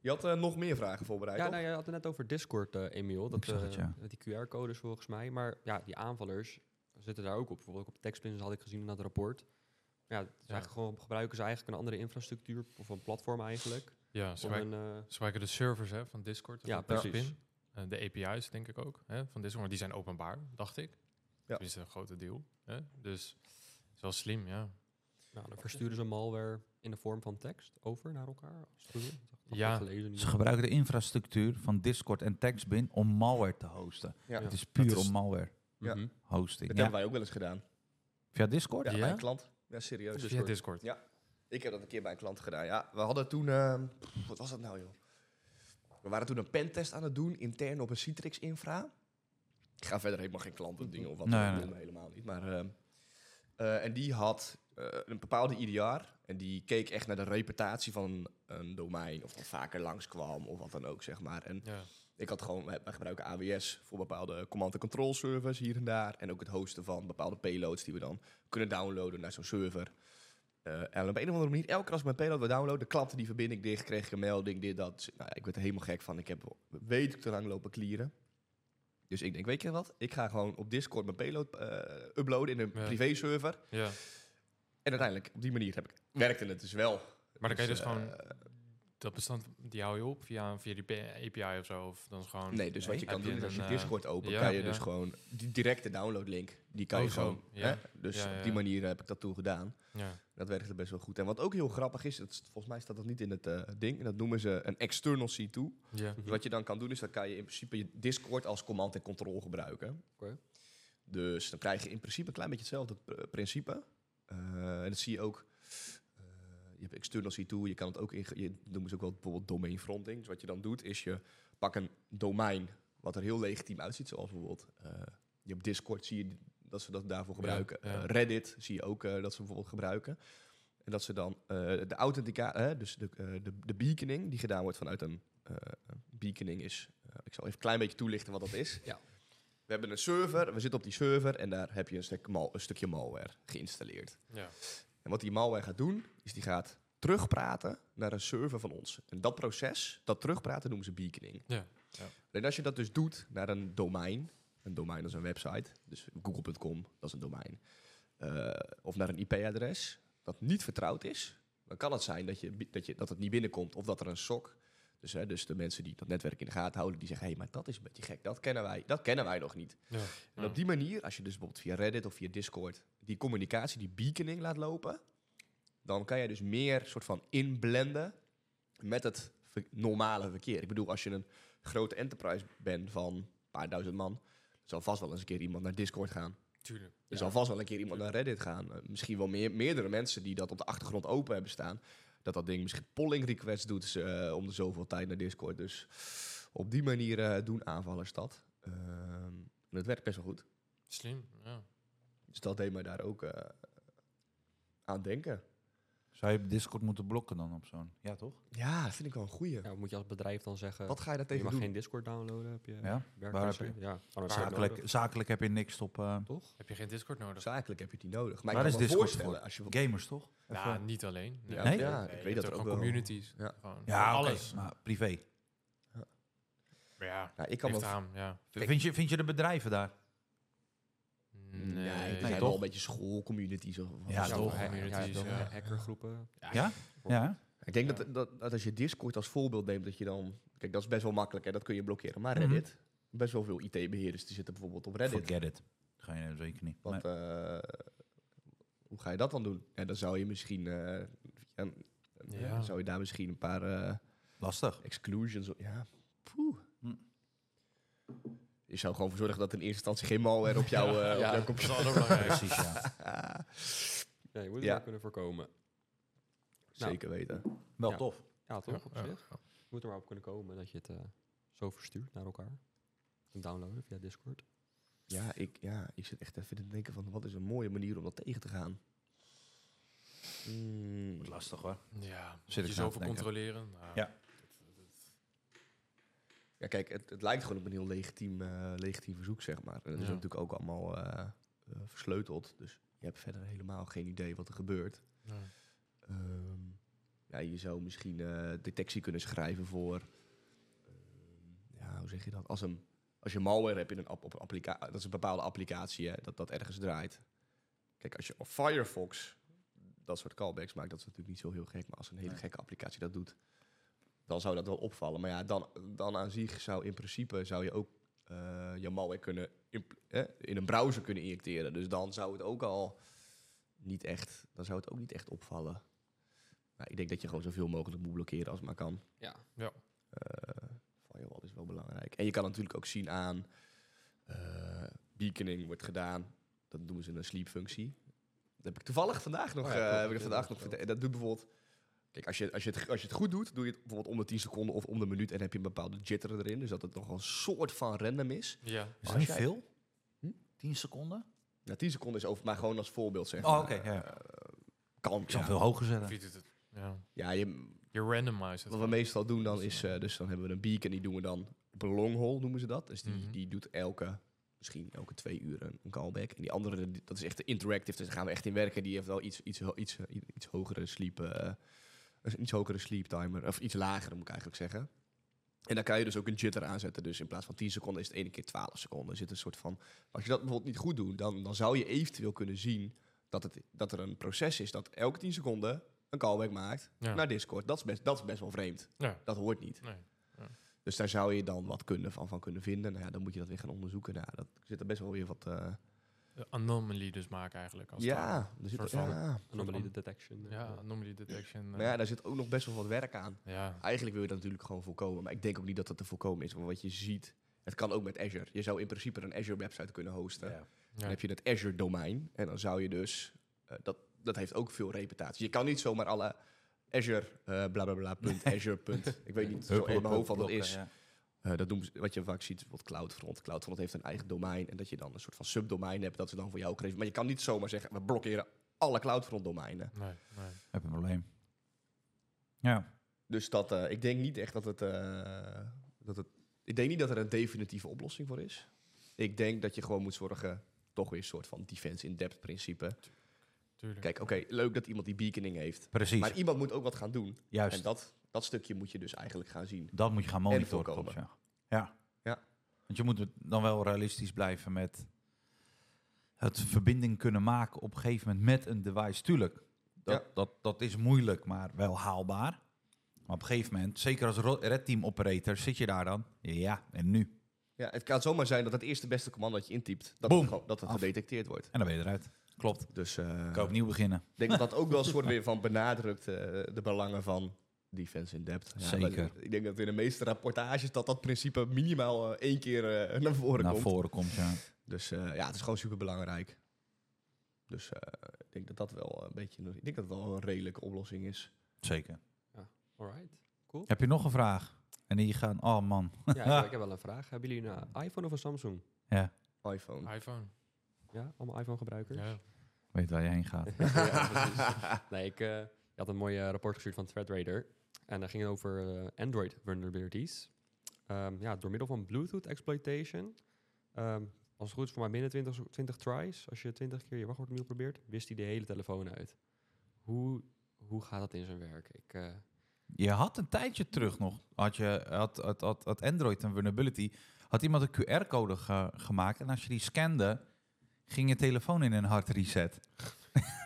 Speaker 3: Je had eh, nog meer vragen voorbereid,
Speaker 2: Ja,
Speaker 3: toch?
Speaker 2: nou, je had het net over Discord, eh, Emiel. Dat,
Speaker 1: Ik zag het,
Speaker 2: eh,
Speaker 1: ja.
Speaker 2: met die QR-codes volgens mij. Maar ja, die aanvallers zitten daar ook op. Bijvoorbeeld ook op TechSpins had ik gezien in dat rapport. Ja, het is
Speaker 4: Ja.
Speaker 2: Eigenlijk gewoon, gebruiken ze eigenlijk een andere infrastructuur of een platform eigenlijk.
Speaker 4: Ja,
Speaker 2: Om
Speaker 4: zwaar.
Speaker 2: een, eh,
Speaker 4: Ze gebruiken de servers hè, van Discord. dus
Speaker 2: Ja,
Speaker 4: van Backspin.
Speaker 2: precies.
Speaker 4: Eh, de API's denk ik ook hè, van Discord. Maar die zijn openbaar, dacht ik. Tenminste, een grote deel. Hè. Dus het is wel slim, ja.
Speaker 2: nou, dan versturen ze malware in de vorm van tekst over naar elkaar. Als het goed is. Dat heb ik
Speaker 4: Ja.
Speaker 2: gelezen in
Speaker 1: Ze
Speaker 2: ieder
Speaker 1: gebruiken de infrastructuur van Discord en TextBin om malware te hosten.
Speaker 3: Ja.
Speaker 1: Het is puur
Speaker 3: Dat is-
Speaker 1: om malware
Speaker 2: geval.
Speaker 3: Ja.
Speaker 2: Mhm.
Speaker 1: hosting.
Speaker 3: Dat
Speaker 1: Ja.
Speaker 3: hebben wij ook wel eens gedaan.
Speaker 1: Via Discord?
Speaker 3: Ja,
Speaker 1: Ja.
Speaker 4: Ja?
Speaker 3: bij een klant. Ja, serieus.
Speaker 4: Dus via
Speaker 2: Discord.
Speaker 4: Discord.
Speaker 3: Ja. Ik heb dat een keer bij een klant gedaan. Ja, we hadden toen... eh, pff, wat was dat nou, joh? We waren toen een pentest aan het doen, intern op een Citrix-infra. Ik ga verder helemaal geen klantendingen of wat
Speaker 1: Nee,
Speaker 3: dan ook
Speaker 1: nee.
Speaker 3: doen, helemaal niet. Maar, ehm, eh, en die had eh, een bepaalde IDR. En die keek echt naar de reputatie van een domein. Of dat vaker langskwam of wat dan ook, zeg maar. En
Speaker 4: Ja.
Speaker 3: ik had gewoon, wij wij gebruiken AWS voor bepaalde command- en control servers hier en daar. En ook het hosten van bepaalde payloads die we dan kunnen downloaden naar zo'n server. Eh, en op een of andere manier, elke keer als ik mijn payload wil downloaden, klapte die verbinding dicht, kreeg ik een melding, dit, dat. Dus, Nou, ja, ik werd er helemaal gek van. Ik heb weet ik te lang lopen clearen. Dus ik denk, weet je wat? Ik ga gewoon op Discord mijn payload eh, uploaden in een
Speaker 4: Ja.
Speaker 3: privé server.
Speaker 4: ja.
Speaker 3: En uiteindelijk, op die manier heb ik, werkte het dus wel.
Speaker 4: Maar dan kan je dus
Speaker 3: eh,
Speaker 4: gewoon- Dat bestand, die hou je op via, via die P- API of zo. Of dan is gewoon...
Speaker 3: Nee, dus wat je
Speaker 4: heb
Speaker 3: kan doen is als je
Speaker 4: een, eh,
Speaker 3: Discord open,
Speaker 4: ja,
Speaker 3: kan je
Speaker 4: ja.
Speaker 3: dus gewoon die directe downloadlink, die kan
Speaker 4: Oh,
Speaker 3: je
Speaker 4: zo,
Speaker 3: gewoon.
Speaker 4: ja.
Speaker 3: Hè? Dus
Speaker 4: Ja, ja,
Speaker 3: op die
Speaker 4: ja.
Speaker 3: manier heb ik dat toen gedaan.
Speaker 4: Ja.
Speaker 3: Dat werkte best wel goed. En wat ook heel grappig is, dat, is- volgens mij staat dat niet in het eh, ding, en dat noemen ze een external C2.
Speaker 4: Ja.
Speaker 2: Mhm.
Speaker 3: Dus wat je dan kan doen is, dan kan je in principe je Discord als command en control gebruiken.
Speaker 2: Oké.
Speaker 3: Dus dan krijg je in principe een klein beetje hetzelfde pr- principe. Eh, en dat zie je ook. eh, je hebt external C2, je kan het ook in. ge- Je noemen ze ook wel bijvoorbeeld domain fronting. Dus wat je dan doet is je pak een domein wat er heel legitiem uitziet, zoals bijvoorbeeld eh, je op Discord zie je dat ze dat daarvoor gebruiken.
Speaker 4: ja.
Speaker 3: Eh, Reddit zie je ook eh, dat ze bijvoorbeeld gebruiken. En dat ze dan eh, de authentica, eh, dus de, eh, de, de beaconing die gedaan wordt vanuit een eh, beaconing is. eh, ik zal even een klein beetje toelichten wat dat is.
Speaker 2: Ja.
Speaker 3: We hebben een server, we zitten op die server en daar heb je een, stuk mal, een stukje malware geïnstalleerd.
Speaker 4: Ja.
Speaker 3: En wat die malware gaat doen, is die gaat terugpraten naar een server van ons. En dat proces, dat terugpraten noemen ze beaconing.
Speaker 4: Ja, ja.
Speaker 3: En als je dat dus doet naar een domein, een domein is een website, dus google.com, dat is een domein. eh, of naar een IP-adres dat niet vertrouwd is, dan kan het zijn dat, je, bi- dat, je, dat het niet binnenkomt of dat er een SOC... Dus, hè, dus de mensen die dat netwerk in de gaten houden, die zeggen... hé, maar dat is een beetje gek, dat kennen wij, dat kennen wij nog niet.
Speaker 4: Ja.
Speaker 3: En op die manier, als je dus bijvoorbeeld via Reddit of via Discord die communicatie, die beaconing laat lopen, dan kan je dus meer soort van inblenden met het ver- normale verkeer. Ik bedoel, als je een grote enterprise bent van een paar duizend man, zal vast wel eens een keer iemand naar Discord gaan.
Speaker 4: Tuurlijk.
Speaker 3: Er zal vast wel een keer iemand naar Reddit gaan. Eh, misschien wel meer, meerdere mensen die dat op de achtergrond open hebben staan. Dat dat ding misschien polling requests doet ze, eh, om de zoveel tijd naar Discord. Dus op die manier eh, doen aanvallers dat. Ehm, en het werkt best wel goed.
Speaker 4: Slim, ja.
Speaker 3: Dus dat deed mij daar ook eh, aan denken.
Speaker 1: Zou je Discord moeten blokken dan op zo'n... Ja, toch?
Speaker 3: Ja, dat vind ik wel een goeie.
Speaker 2: Ja, moet je als bedrijf dan zeggen,
Speaker 3: Wat ga je daar
Speaker 2: je
Speaker 3: tegen
Speaker 2: mag
Speaker 3: doen?
Speaker 2: geen Discord downloaden. Heb je
Speaker 1: Ja?
Speaker 2: werk-
Speaker 1: Waar heb
Speaker 2: Ja,
Speaker 1: je-
Speaker 2: ja, kan het
Speaker 1: Zakelijk,
Speaker 2: downloaden.
Speaker 1: zakelijk heb je niks op... eh,
Speaker 2: Toch?
Speaker 4: Heb je geen Discord nodig?
Speaker 3: Zakelijk heb je die nodig. Maar
Speaker 1: Waar
Speaker 3: ik
Speaker 1: is
Speaker 3: kan me
Speaker 1: Discord
Speaker 3: voorstellen
Speaker 1: voor?
Speaker 3: als je...
Speaker 1: gamers, toch? Of,
Speaker 4: Ja,
Speaker 1: eh,
Speaker 4: niet alleen.
Speaker 3: Ja,
Speaker 1: Nee?
Speaker 3: ja, ik
Speaker 4: je
Speaker 3: weet
Speaker 4: hebt
Speaker 3: dat er
Speaker 4: ook
Speaker 3: ook
Speaker 4: gewoon
Speaker 3: wel-
Speaker 4: communities.
Speaker 3: Ja.
Speaker 4: Gewoon
Speaker 1: ja, oké,
Speaker 4: alles.
Speaker 1: maar privé.
Speaker 4: Maar ja,
Speaker 3: Nou, ik kan
Speaker 4: kan
Speaker 3: me...
Speaker 4: het aan, ja.
Speaker 1: Vind je, vind je de bedrijven daar?
Speaker 3: Nee, er
Speaker 1: Nee,
Speaker 3: zijn wel
Speaker 1: toch?
Speaker 3: een beetje schoolcommunities. Of, of
Speaker 1: Ja,
Speaker 3: zo.
Speaker 1: toch.
Speaker 2: Ja,
Speaker 4: Communities,
Speaker 2: toch,
Speaker 4: ja.
Speaker 2: Hackergroepen.
Speaker 1: Ja? Ja?
Speaker 3: Ik denk
Speaker 4: Ja.
Speaker 3: dat, dat, dat als je Discord als voorbeeld neemt, dat je dan... Kijk, dat is best wel makkelijk en dat kun je blokkeren. Maar
Speaker 1: Mhm.
Speaker 3: Reddit, best wel veel IT-beheerders die zitten bijvoorbeeld op Reddit.
Speaker 1: Forget it. Ga je zeker niet.
Speaker 3: Want eh, hoe ga je dat dan doen? Ja, dan zou je misschien... eh, ja,
Speaker 4: Ja.
Speaker 3: dan zou je daar misschien een paar... eh,
Speaker 1: Nee, Lastig.
Speaker 3: exclusions. o- Ja, poeh.
Speaker 1: Hm.
Speaker 3: Je zou gewoon voor zorgen dat in eerste instantie geen malware op jouw, eh, op
Speaker 4: ja,
Speaker 3: jouw
Speaker 4: dat is
Speaker 3: computer...
Speaker 4: wel belangrijk.
Speaker 1: Precies, ja.
Speaker 2: Ja, je moet het
Speaker 3: Ja.
Speaker 2: wel kunnen voorkomen.
Speaker 4: Nou.
Speaker 3: Zeker weten.
Speaker 1: Wel
Speaker 2: Ja.
Speaker 1: tof.
Speaker 2: Ja, toch? Op
Speaker 4: Ja,
Speaker 2: zich.
Speaker 4: ja.
Speaker 2: Je moet er maar op kunnen komen dat je het eh, zo verstuurt naar elkaar. Kunt downloaden via Discord.
Speaker 3: Ja ik, ja, ik zit echt even te denken van wat is een mooie manier om dat tegen te gaan. Mm.
Speaker 1: Wordt lastig hoor.
Speaker 4: Ja,
Speaker 1: Zit ik
Speaker 4: zit je
Speaker 1: na te
Speaker 4: zoveel
Speaker 1: denken.
Speaker 4: controleren. Nou,
Speaker 1: Ja.
Speaker 3: Ja, kijk, het, het lijkt gewoon op een heel legitiem, eh, legitiem verzoek, zeg maar. En dat is
Speaker 4: Ja.
Speaker 3: natuurlijk ook allemaal eh, eh, versleuteld. Dus je hebt verder helemaal geen idee wat er gebeurt.
Speaker 4: ja.
Speaker 3: Ehm, ja, je zou misschien eh, detectie kunnen schrijven voor... ehm, ja, hoe zeg je dat? Als, een, als je malware hebt in een, app, op een applicatie... Dat is een bepaalde applicatie, hè, dat dat ergens draait. Kijk, als je op Firefox dat soort callbacks maakt... dat is natuurlijk niet zo heel gek. Maar als een hele
Speaker 1: Nee.
Speaker 3: gekke applicatie dat doet... dan zou dat wel opvallen. Maar ja, dan, dan aan zich zou in principe... zou je ook eh, je malware kunnen... impl- eh, in een browser kunnen injecteren. Dus dan zou het ook al niet echt... dan zou het ook niet echt opvallen. Nou, ik denk dat je gewoon zoveel mogelijk moet blokkeren als het maar kan.
Speaker 2: Ja.
Speaker 3: Eh, firewall is wel belangrijk. En je kan natuurlijk ook zien aan eh, beaconing wordt gedaan. Dat doen ze in een sleep-functie. Dat heb ik toevallig vandaag nog.
Speaker 2: Oh ja, klopt.
Speaker 3: eh, heb ik
Speaker 2: Ja,
Speaker 3: vandaag
Speaker 2: dat
Speaker 3: nog
Speaker 2: is wel.
Speaker 3: verteld. dat doet bijvoorbeeld. Kijk, als je, als, je het, als je het goed doet, doe je het bijvoorbeeld om de 10 seconden of om de minuut. En heb je een bepaalde jitter erin. Dus dat het nog een soort van random is.
Speaker 4: ja.
Speaker 1: Is
Speaker 3: Als
Speaker 1: dat niet
Speaker 3: jij-
Speaker 1: veel?
Speaker 3: Hm?
Speaker 1: 10 seconden?
Speaker 3: Nou, 10 seconden is over, maar gewoon als voorbeeld zeg.
Speaker 1: Oh,
Speaker 3: maar.
Speaker 1: oké, ja.
Speaker 3: Eh, kan.
Speaker 1: Ik zou
Speaker 3: ja.
Speaker 1: hem veel hoger
Speaker 4: Of
Speaker 1: zetten.
Speaker 4: je doet het. Ja.
Speaker 3: Ja, je,
Speaker 4: Je randomized het.
Speaker 3: Wat we meestal doen dan is, eh, dus dan hebben we een beacon die doen we dan op een long haul noemen ze dat. Dus die,
Speaker 4: Mhm.
Speaker 3: die doet elke, misschien elke twee uur een, een callback. En die andere, die- dat is echt interactive, dus daar gaan we echt in werken. Die heeft wel iets, iets, ho- iets, eh, i- iets hogere sleep, eh, een iets hogere sleep timer, of iets lagere moet ik eigenlijk zeggen. En dan kan je dus ook een jitter aanzetten. Dus in plaats van 10 seconden is het ene keer 12 seconden. Er zit een soort van. Als je dat bijvoorbeeld niet goed doet, dan, dan zou je eventueel kunnen zien dat, het, dat er een proces is dat elke 10 seconden een callback maakt
Speaker 4: Ja.
Speaker 3: naar Discord. Dat is, best, dat is best wel vreemd.
Speaker 4: Ja.
Speaker 3: Dat hoort niet.
Speaker 4: Nee.
Speaker 3: Dus daar zou je dan wat kunnen, van, van kunnen vinden. Nou ja, dan moet je dat weer gaan onderzoeken. Nou, dat zit er best wel weer wat... eh,
Speaker 4: De anomaly dus maken eigenlijk. Als het ware.
Speaker 3: ja, er zit,
Speaker 4: soort van-
Speaker 3: ja.
Speaker 2: Anomaly detection. eh,
Speaker 4: Ja, anomaly detection. eh,
Speaker 3: Maar ja, daar zit ook nog best wel wat werk aan.
Speaker 4: ja.
Speaker 3: Eigenlijk wil je dat natuurlijk gewoon voorkomen. Maar ik denk ook niet dat dat te voorkomen is. Want wat je ziet, het kan ook met Azure. Je zou in principe een Azure website kunnen hosten. Dan
Speaker 4: Ja.
Speaker 3: heb je het Azure domein. En dan zou je dus... eh, dat, dat heeft ook veel reputatie. Je kan niet zomaar alle Azure, eh bla bla bla, punt, Azure, punt. Ik weet niet zo in mijn hoofd wat dat is.
Speaker 1: Ja.
Speaker 3: Eh, dat doen ze, wat je vaak ziet, is bijvoorbeeld CloudFront. CloudFront heeft een eigen domein en dat je dan een soort van subdomein hebt dat ze dan voor jou geven. Maar je kan niet zomaar zeggen, we blokkeren alle CloudFront-domeinen.
Speaker 4: Nee, nee.
Speaker 1: Heb een probleem. Ja.
Speaker 3: Dus dat, eh, ik denk niet echt dat het, eh, dat het... Ik denk niet dat er een definitieve oplossing voor is. Ik denk dat je gewoon moet zorgen, toch weer een soort van defense-in-depth principe.
Speaker 4: Tuurlijk.
Speaker 3: Kijk, oké, leuk dat iemand die beaconing heeft.
Speaker 1: Precies.
Speaker 3: Maar iemand moet ook wat gaan doen.
Speaker 1: Juist.
Speaker 3: En dat, dat stukje moet je dus eigenlijk gaan zien.
Speaker 1: Dan moet je gaan monitoren, klopt,
Speaker 3: voorkomen.
Speaker 1: ja. ja.
Speaker 3: Ja.
Speaker 1: Want je moet het dan wel realistisch blijven met het verbinding kunnen maken op een gegeven moment met een device. Tuurlijk, dat,
Speaker 3: Ja.
Speaker 1: dat, dat is moeilijk, maar wel haalbaar. Maar op een gegeven moment, zeker als ro- red team operator, zit je daar dan. Ja, en nu?
Speaker 3: Ja, het kan zomaar zijn dat het eerste beste commando dat je intypt, dat
Speaker 1: Boom.
Speaker 3: het, gewoon- dat het
Speaker 1: Af.
Speaker 3: gedetecteerd wordt.
Speaker 1: En dan ben je eruit. Klopt.
Speaker 3: Dus eh,
Speaker 1: Ik kan opnieuw beginnen.
Speaker 3: Ik denk dat dat ook wel een soort weer van benadrukt eh, de belangen van defense in depth.
Speaker 1: Zeker.
Speaker 3: maar Ik denk dat in de meeste rapportages dat dat principe minimaal eh, één keer eh, naar voren
Speaker 1: Naar
Speaker 3: komt.
Speaker 1: voren komt, ja.
Speaker 3: Dus eh, ja, het is gewoon super belangrijk. Dus eh, ik denk dat dat wel een beetje, ik denk dat dat wel een redelijke oplossing is.
Speaker 1: Zeker.
Speaker 2: Alright. Cool.
Speaker 1: Heb je nog een vraag? En die gaan, oh man.
Speaker 2: ja, ik- ik heb wel een vraag. Hebben jullie een eh, iPhone of een Samsung?
Speaker 3: iPhone.
Speaker 4: iPhone.
Speaker 2: Ja, allemaal iPhone gebruikers?
Speaker 4: Ja.
Speaker 1: Weet waar je heen gaat.
Speaker 2: Ja, precies. nee, ik eh, je had een mooi eh, rapport gestuurd van ThreadRaider. En daar ging het over eh, Android vulnerabilities. Ehm, ja, door middel van Bluetooth exploitation. ehm, als het goed is voor mij binnen 20, so- 20 tries. Als je 20 keer je wachtwoord opnieuw probeert, wist hij de hele telefoon uit. Hoe, hoe gaat dat in zijn werk? Ik, eh,
Speaker 1: Je had een tijdje terug nog, had, je, had, had, had, had Android een vulnerability, had iemand een QR-code ge- gemaakt en als je die scande, ging je telefoon in een hard reset.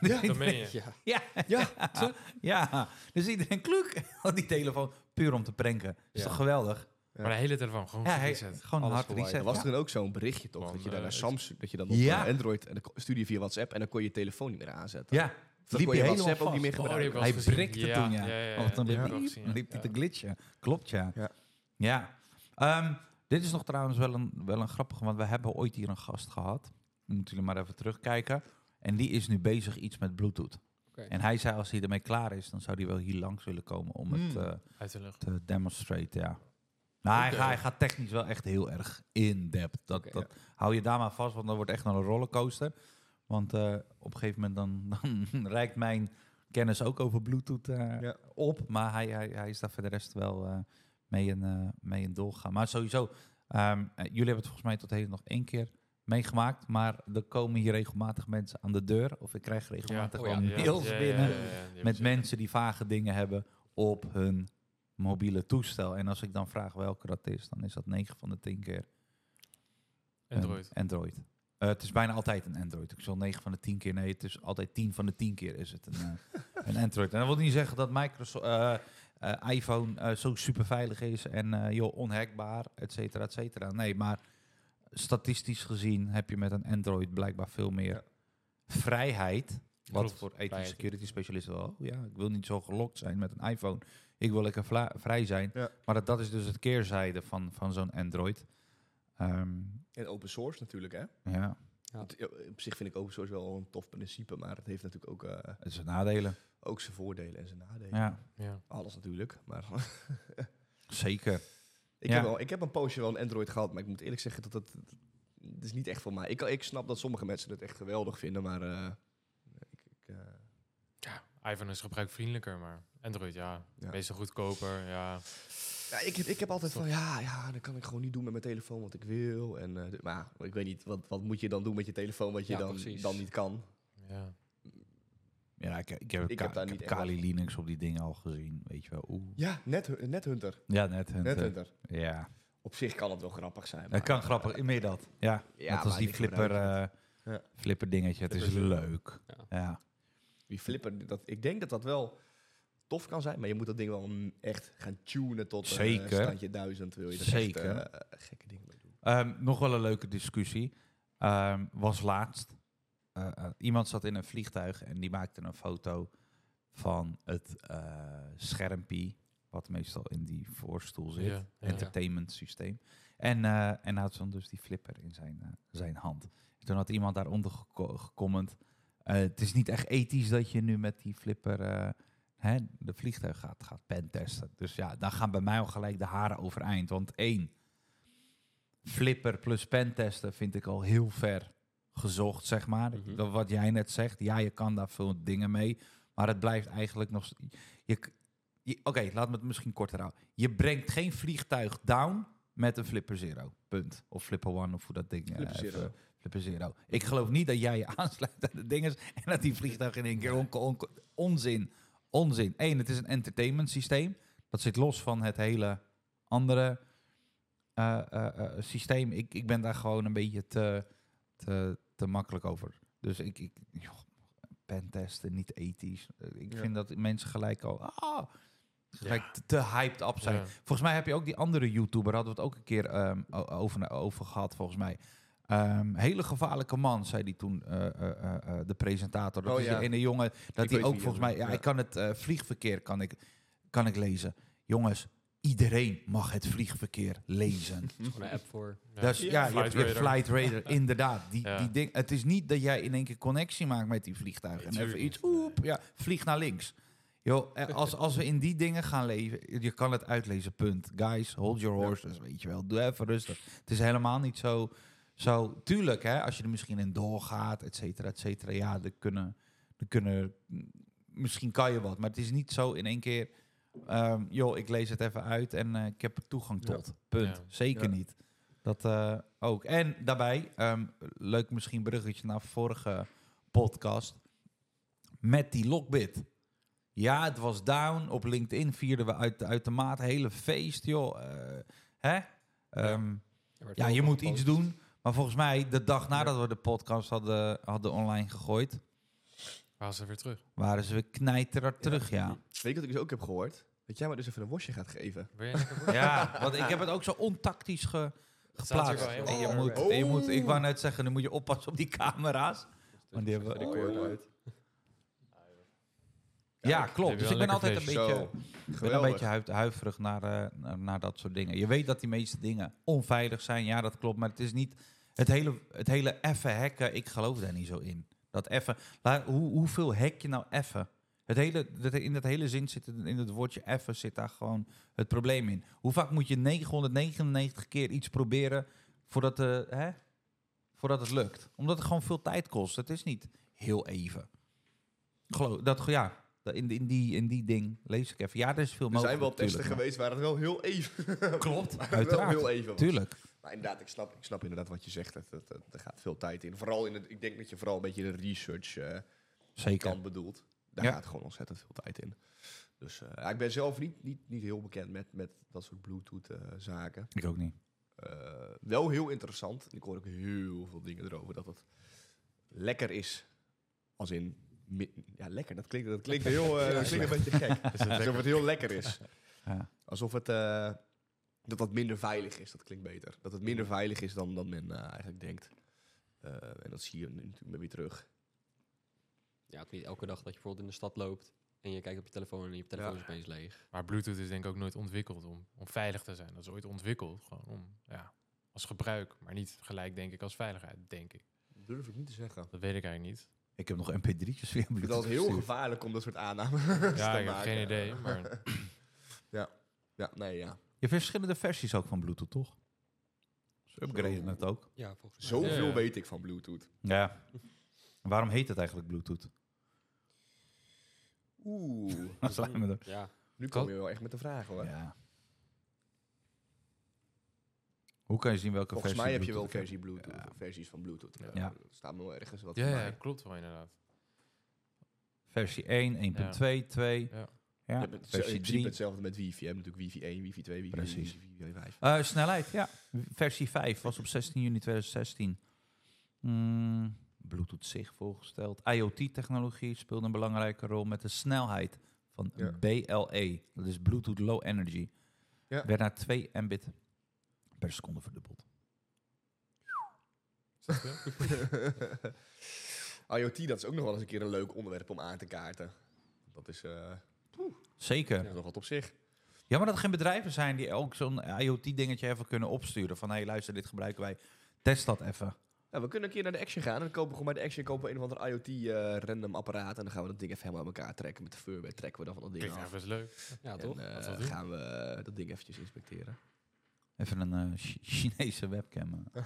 Speaker 3: Ja,
Speaker 4: Dat meen je.
Speaker 2: ja,
Speaker 1: ja,
Speaker 3: Ja,
Speaker 1: ja, ja. Dus iedereen kluk had die telefoon puur om te pranken. Is
Speaker 2: Ja.
Speaker 1: toch geweldig?
Speaker 4: Maar de hele telefoon gewoon
Speaker 1: Ja, hij-
Speaker 4: gezet.
Speaker 1: gewoon een
Speaker 2: Alles
Speaker 1: hard
Speaker 2: verwaaid.
Speaker 1: reset.
Speaker 3: Er was
Speaker 1: ja.
Speaker 3: toen ook zo'n berichtje toch,
Speaker 4: Van,
Speaker 3: dat je daar
Speaker 4: eh,
Speaker 3: naar
Speaker 4: het-
Speaker 3: Samsung, dat je dan op
Speaker 1: Ja.
Speaker 3: eh, Android, en dan ko- stuurde je via WhatsApp en dan kon je je telefoon niet meer aanzetten.
Speaker 1: Ja,
Speaker 3: Of dan
Speaker 1: liep
Speaker 3: kon je
Speaker 1: je helemaal
Speaker 3: WhatsApp ook niet meer
Speaker 1: vast.
Speaker 4: Oh, die heb ik
Speaker 3: gebruiken.
Speaker 4: wel
Speaker 1: hij
Speaker 4: eens gezien.
Speaker 1: brikte toen, ja. Want dan
Speaker 4: die
Speaker 1: eh, liep,
Speaker 4: heb ik ook gezien, ja.
Speaker 1: liep hij
Speaker 4: Ja.
Speaker 1: te glitchen. Klopt, ja.
Speaker 3: Ja.
Speaker 1: Ja. Ehm, dit is nog trouwens wel een, wel een grappige, want we hebben ooit hier een gast gehad. Moeten jullie maar even terugkijken. En die is nu bezig iets met Bluetooth.
Speaker 2: Oké.
Speaker 1: En hij zei als hij ermee klaar is, dan zou hij wel hier langs willen komen om het
Speaker 3: Hmm.
Speaker 1: eh,
Speaker 4: Uit de lucht.
Speaker 1: te demonstrate, ja. Nou, hij,
Speaker 4: Oké.
Speaker 1: gaat, hij gaat technisch wel echt heel erg in-depth. Dat,
Speaker 2: Oké,
Speaker 1: dat, Hou je daar maar vast, want dat wordt echt een rollercoaster. Want eh, op een gegeven moment dan, dan reikt mijn kennis ook over Bluetooth eh,
Speaker 3: Ja.
Speaker 1: op. Maar hij, hij, hij is daar voor de rest wel eh, mee, in, eh mee in doorgaan. Maar sowieso, ehm, eh, jullie hebben het volgens mij tot heden nog één keer meegemaakt. Maar er komen hier regelmatig mensen aan de deur. Of ik krijg regelmatig
Speaker 4: Oh
Speaker 1: wel mails
Speaker 4: Ja, ja,
Speaker 1: binnen.
Speaker 4: ja, ja, ja, ja,
Speaker 1: Met
Speaker 4: zeker.
Speaker 1: mensen die vage dingen hebben op hun mobiele toestel. En als ik dan vraag welke dat is, dan is dat 9 van de 10 keer een
Speaker 4: Android.
Speaker 1: Android. Eh, het is bijna altijd een Android. Ik zal 9 van de 10 keer. Nee, het is altijd 10 van de 10 keer is het een, eh, een Android. En dat wil niet zeggen dat Microsoft eh, eh, iPhone eh, zo super veilig is en eh, joh, onhackbaar, et cetera, et cetera. Nee, maar statistisch gezien heb je met een Android blijkbaar veel meer
Speaker 3: Ja.
Speaker 1: vrijheid. Wat
Speaker 4: Klopt,
Speaker 1: voor IT
Speaker 4: vrijheid.
Speaker 1: security specialisten wel. Oh, ja, ik wil niet zo gelokt zijn met een iPhone. Ik wil lekker vla- vrij zijn.
Speaker 3: Ja.
Speaker 1: Maar dat, dat is dus het keerzijde van, van zo'n Android. Ehm,
Speaker 3: En open source natuurlijk, hè?
Speaker 1: ja.
Speaker 2: Ja.
Speaker 3: Want, ja, op zich vind ik open source wel een tof principe, maar het heeft natuurlijk ook, eh,
Speaker 1: Dat is een nadelen.
Speaker 3: ook zijn voordelen en zijn nadelen.
Speaker 1: Ja,
Speaker 4: Ja.
Speaker 3: Alles natuurlijk, maar...
Speaker 1: zeker.
Speaker 3: Ik,
Speaker 1: Ja.
Speaker 3: heb wel, ik heb een poosje wel een Android gehad, maar ik moet eerlijk zeggen dat dat... Het is niet echt voor mij. Ik, ik snap dat sommige mensen het echt geweldig vinden, maar... eh, ik, ik, eh,
Speaker 4: ja, iPhone is gebruikvriendelijker, maar Android, ja.
Speaker 3: Ja.
Speaker 4: Meestal goedkoper, ja.
Speaker 3: ja, ik, heb, ik heb altijd van, ja, ja, dat kan ik gewoon niet doen met mijn telefoon wat ik wil. En, eh, d- maar ik weet niet, wat, wat moet je dan doen met je telefoon wat je
Speaker 2: Ja,
Speaker 3: dan,
Speaker 2: precies.
Speaker 3: dan niet kan?
Speaker 4: ja.
Speaker 1: Ja, ik, ik heb,
Speaker 3: Ik
Speaker 1: Ka-
Speaker 3: heb daar
Speaker 1: ik
Speaker 3: niet
Speaker 1: heb
Speaker 3: echt
Speaker 1: Kali
Speaker 3: last
Speaker 1: Linux op die dingen al gezien, weet je wel. Oeh.
Speaker 3: Ja, net, net Hunter.
Speaker 1: Ja, net. hun-
Speaker 3: Net Hunter.
Speaker 1: Ja,
Speaker 3: Op zich kan het wel grappig zijn. eh,
Speaker 1: het kan grappig, meer dat. Ja,
Speaker 3: Ja,
Speaker 1: net als
Speaker 3: maar
Speaker 1: die
Speaker 3: ik
Speaker 1: flipper,
Speaker 3: gebruik
Speaker 1: eh,
Speaker 3: Ja.
Speaker 1: flipper dingetje. Het is
Speaker 4: Flipper.
Speaker 1: leuk.
Speaker 2: Ja.
Speaker 1: Ja.
Speaker 3: Die flipper, dat, ik denk dat dat wel tof kan zijn, maar je moet dat ding wel mm, echt gaan tunen tot een, eh,
Speaker 1: Zeker.
Speaker 3: standje duizend. Wil je er
Speaker 1: Zeker.
Speaker 3: echt eh, gekke dingen mee doen.
Speaker 1: Ehm, nog wel een leuke discussie. Ehm, was laatst. Eh, eh, iemand zat in een vliegtuig en die maakte een foto van het eh schermpje. Wat meestal in die voorstoel zit.
Speaker 4: Ja, ja.
Speaker 1: entertainment systeem. En, eh, en hij had zo'n dus die flipper in zijn, eh, zijn hand. En toen had iemand daaronder geko- gecomment. eh, het is niet echt ethisch dat je nu met die flipper eh, hè, de vliegtuig gaat, gaat pentesten. Dus ja, daar gaan bij mij al gelijk de haren overeind. Want één, flipper plus pentesten vind ik al heel ver gezocht, zeg maar.
Speaker 2: Mhm.
Speaker 1: Dat Wat jij net zegt, ja, je kan daar veel dingen mee. Maar het blijft eigenlijk nog... s- je k- je- Oké, laat me het misschien korter houden. Je brengt geen vliegtuig down met een Flipper Zero. Punt. Of Flipper One, of hoe dat ding... eh,
Speaker 3: Flipper
Speaker 1: even-
Speaker 3: Zero.
Speaker 1: Flipper Zero. Ik geloof niet dat jij je aansluit aan de dinges... en dat die vliegtuig in één keer... onko- onko- onzin. Onzin. Eén, het is een entertainment systeem. Dat zit los van het hele andere eh, eh, eh, systeem. Ik, ik ben daar gewoon een beetje te, te, te makkelijk over. Dus ik... ik joh, pentesten, niet ethisch. Eh, Ik
Speaker 3: Ja.
Speaker 1: vind dat mensen gelijk al... Ah, gelijk
Speaker 4: Ja.
Speaker 1: te- te hyped up zijn.
Speaker 4: Ja.
Speaker 1: Volgens mij heb je ook die andere YouTuber, hadden we het ook een keer ehm, o- over, over gehad, volgens mij. Ehm, hele gevaarlijke man, zei die toen, eh, eh, eh, eh, de presentator. Dat
Speaker 3: Oh,
Speaker 1: is
Speaker 3: ja.
Speaker 1: die ene jongen, dat
Speaker 3: Ik
Speaker 1: die
Speaker 3: weet
Speaker 1: ook
Speaker 3: wie je
Speaker 1: volgens mij...
Speaker 3: bedoelt,
Speaker 1: Ja,
Speaker 3: ja.
Speaker 1: ik kan het eh, vliegverkeer kan ik, kan ik lezen. Jongens, iedereen mag het vliegverkeer lezen.
Speaker 3: Hm.
Speaker 2: Gewoon een app voor.
Speaker 4: Ja.
Speaker 1: Dus ja,
Speaker 4: Ja,
Speaker 1: je, hebt, je hebt
Speaker 4: Flight
Speaker 1: Flight Radar, inderdaad. Die,
Speaker 4: Ja.
Speaker 1: die ding, het is niet dat jij in één keer connectie maakt met die vliegtuigen. En
Speaker 4: Nee,
Speaker 1: even
Speaker 4: tuurlijk
Speaker 1: iets, oep, ja, vlieg naar links. Joh, eh, als, als we in die dingen gaan leven, je kan het uitlezen, punt. Guys, hold your horses, weet je wel. Doe even rustig. Het is helemaal niet zo... zo tuurlijk, hè, als je er misschien in doorgaat, et cetera, et cetera. Ja, er kunnen, er kunnen... Misschien kan je wat, maar het is niet zo in één keer... ehm, joh, ik lees het even uit en eh, ik heb er toegang
Speaker 3: Ja.
Speaker 1: tot. Punt.
Speaker 4: Ja.
Speaker 1: Zeker
Speaker 3: Ja.
Speaker 1: niet. Dat eh, ook. En daarbij, ehm, leuk misschien bruggetje naar vorige podcast. Met die Lockbit. Ja, het was down. Op LinkedIn vierden we uit, uit de maat hele feest, joh. Eh, hè? Ehm,
Speaker 2: Er werd
Speaker 1: ja,
Speaker 2: veel
Speaker 1: je moet
Speaker 2: gepost.
Speaker 1: iets doen. Maar volgens mij, de dag nadat we de podcast hadden, hadden online gegooid,
Speaker 4: Waar ze weer terug?
Speaker 1: waren ze weer knijterer terug, ja.
Speaker 3: Weet je wat ik dus ook heb gehoord? Dat jij maar dus even een wasje gaat geven.
Speaker 4: Ben je lekker voor?
Speaker 1: Ja, want ik heb het ook zo ontactisch ge-
Speaker 4: Staat er
Speaker 1: geplaatst.
Speaker 4: wel helemaal
Speaker 1: En je
Speaker 4: ver
Speaker 1: moet,
Speaker 4: weg.
Speaker 1: en je moet, ik wou net zeggen, dan moet je oppassen op die camera's. Want die hebben
Speaker 2: Dus de record
Speaker 3: Oh.
Speaker 2: uit.
Speaker 1: Ja,
Speaker 3: Kijk,
Speaker 1: klopt.
Speaker 4: heb je
Speaker 1: Dus
Speaker 4: wel
Speaker 1: ik ben altijd
Speaker 4: lekker
Speaker 1: een
Speaker 4: vlees.
Speaker 1: beetje,
Speaker 3: Zo,
Speaker 1: ik ben een
Speaker 3: geweldig.
Speaker 1: beetje huif- huiverig naar, eh, naar, naar dat soort dingen. Je weet dat die meeste dingen onveilig zijn. Ja, dat klopt. Maar het is niet het hele, het hele effen hacken. Ik geloof daar niet zo in. Dat effen. la- Hoe, hoeveel hack je nou effen? Het hele, dat, in dat hele zin zit het- in het woordje effen zit daar gewoon het probleem in. Hoe vaak moet je 999 keer iets proberen voordat, eh, hè, voordat het lukt? Omdat het gewoon veel tijd kost. Het is niet heel even. Geloof, dat, ja, Da- In, in, die, in die ding lees ik even. Ja, er is veel
Speaker 3: Er
Speaker 1: mogelijk.
Speaker 3: zijn wel testen
Speaker 1: tuurlijk,
Speaker 3: geweest waar het wel heel even. Klopt, wel
Speaker 1: uiteraard.
Speaker 3: heel even.
Speaker 1: maar-
Speaker 3: was.
Speaker 1: Tuurlijk.
Speaker 3: Maar inderdaad, ik snap, ik snap inderdaad wat je zegt. Het, het, het- er gaat veel tijd in. Vooral in het, ik denk dat je vooral een beetje de research eh,
Speaker 1: Zeker.
Speaker 3: kant bedoelt. Daar
Speaker 1: Ja.
Speaker 3: gaat gewoon ontzettend veel tijd in. Dus eh, ja, ik ben zelf niet, niet, niet heel bekend met, met dat soort Bluetooth-zaken.
Speaker 1: Ik ook niet.
Speaker 3: Eh, wel heel interessant. Ik hoor ook heel veel dingen erover dat het lekker is. Als in. mi- Ja, lekker. Dat klinkt, dat klinkt, heel, eh, dat klinkt een beetje gek. Alsof het heel lekker is.
Speaker 1: Ja.
Speaker 3: Alsof het. eh, dat dat minder veilig is. Dat klinkt beter. Dat het minder veilig is dan, dan men eh, eigenlijk denkt. Eh, en dat zie je nu natuurlijk maar weer terug.
Speaker 2: Ja, ook niet elke dag dat je bijvoorbeeld in de stad loopt en je kijkt op je telefoon en je telefoon
Speaker 3: Ja.
Speaker 2: is opeens leeg.
Speaker 4: Maar Bluetooth is denk ik ook nooit ontwikkeld om, om veilig te zijn. Dat is ooit ontwikkeld gewoon om, ja, als gebruik, maar niet gelijk denk ik als veiligheid, denk ik.
Speaker 3: Durf ik niet te zeggen.
Speaker 4: Dat weet ik eigenlijk niet.
Speaker 1: Ik heb nog mp3'tjes weer.
Speaker 3: Ik vind dat heel gevaarlijk om dat soort aannames te maken.
Speaker 4: Ja, ik heb geen idee, maar
Speaker 3: Ja, nee, ja.
Speaker 1: Je hebt verschillende versies ook van Bluetooth, toch? Ze upgraden
Speaker 3: Zo.
Speaker 1: het ook.
Speaker 2: Ja, volgens mij.
Speaker 3: Zoveel
Speaker 4: Ja.
Speaker 3: weet ik van Bluetooth.
Speaker 1: Ja. En waarom heet het eigenlijk Bluetooth?
Speaker 3: Oeh.
Speaker 1: Dan slaan we er.
Speaker 2: Ja,
Speaker 3: Nu
Speaker 4: Kan-
Speaker 3: kom je wel echt met de vragen hoor.
Speaker 1: Ja. Hoe kan je zien welke
Speaker 3: Volgens
Speaker 1: versie
Speaker 3: mij heb je wel
Speaker 1: Bluetooth
Speaker 3: versie
Speaker 1: ik heb?
Speaker 3: Bluetooth,
Speaker 1: Ja.
Speaker 3: of versies van Bluetooth.
Speaker 4: Ja.
Speaker 3: Ja.
Speaker 1: Ja.
Speaker 3: Er staat wel ergens wat.
Speaker 4: ja,
Speaker 3: voor
Speaker 4: ja,
Speaker 3: mij.
Speaker 4: klopt wel inderdaad.
Speaker 1: Versie 1, 1.2, 2.
Speaker 4: Ja.
Speaker 1: Ja,
Speaker 3: Je hebt het- in
Speaker 1: versie
Speaker 3: principe
Speaker 1: 3.
Speaker 3: hetzelfde met wifi. Je hebt natuurlijk wifi 1, wifi 2, wifi
Speaker 1: Precies.
Speaker 3: 3, wifi 5.
Speaker 1: Eh, snelheid, ja. Versie 5 was op 16 juni 2016. Mm, Bluetooth zich voorgesteld. IoT-technologie speelde een belangrijke rol met de snelheid van
Speaker 3: Ja.
Speaker 1: BLE. E. Dat is Bluetooth Low Energy.
Speaker 3: Ja.
Speaker 1: Werd naar 2 mbit per seconde verdubbeld.
Speaker 3: IoT, dat is ook nog wel eens een keer een leuk onderwerp om aan te kaarten. Dat is, eh,
Speaker 1: Zeker.
Speaker 3: dat is nog wat op zich.
Speaker 1: Ja, maar dat er geen bedrijven zijn die ook zo'n IoT-dingetje even kunnen opsturen. Van, hé, hey, luister, dit gebruiken wij. Test dat even.
Speaker 3: Ja, Nou, we kunnen een keer naar de Action gaan. En dan kopen we gewoon bij de Action kopen we een of ander IoT-random eh, apparaat. En dan gaan we dat ding even helemaal uit elkaar trekken. Met de firmware trekken we dan van dat ding
Speaker 4: Klinkt
Speaker 3: af.
Speaker 4: eigenlijk best leuk.
Speaker 2: ja
Speaker 3: En
Speaker 2: toch?
Speaker 3: eh,
Speaker 4: Laten we dat doen.
Speaker 3: gaan we dat ding eventjes inspecteren.
Speaker 1: Even een eh, Chi- Chinese webcam. eh.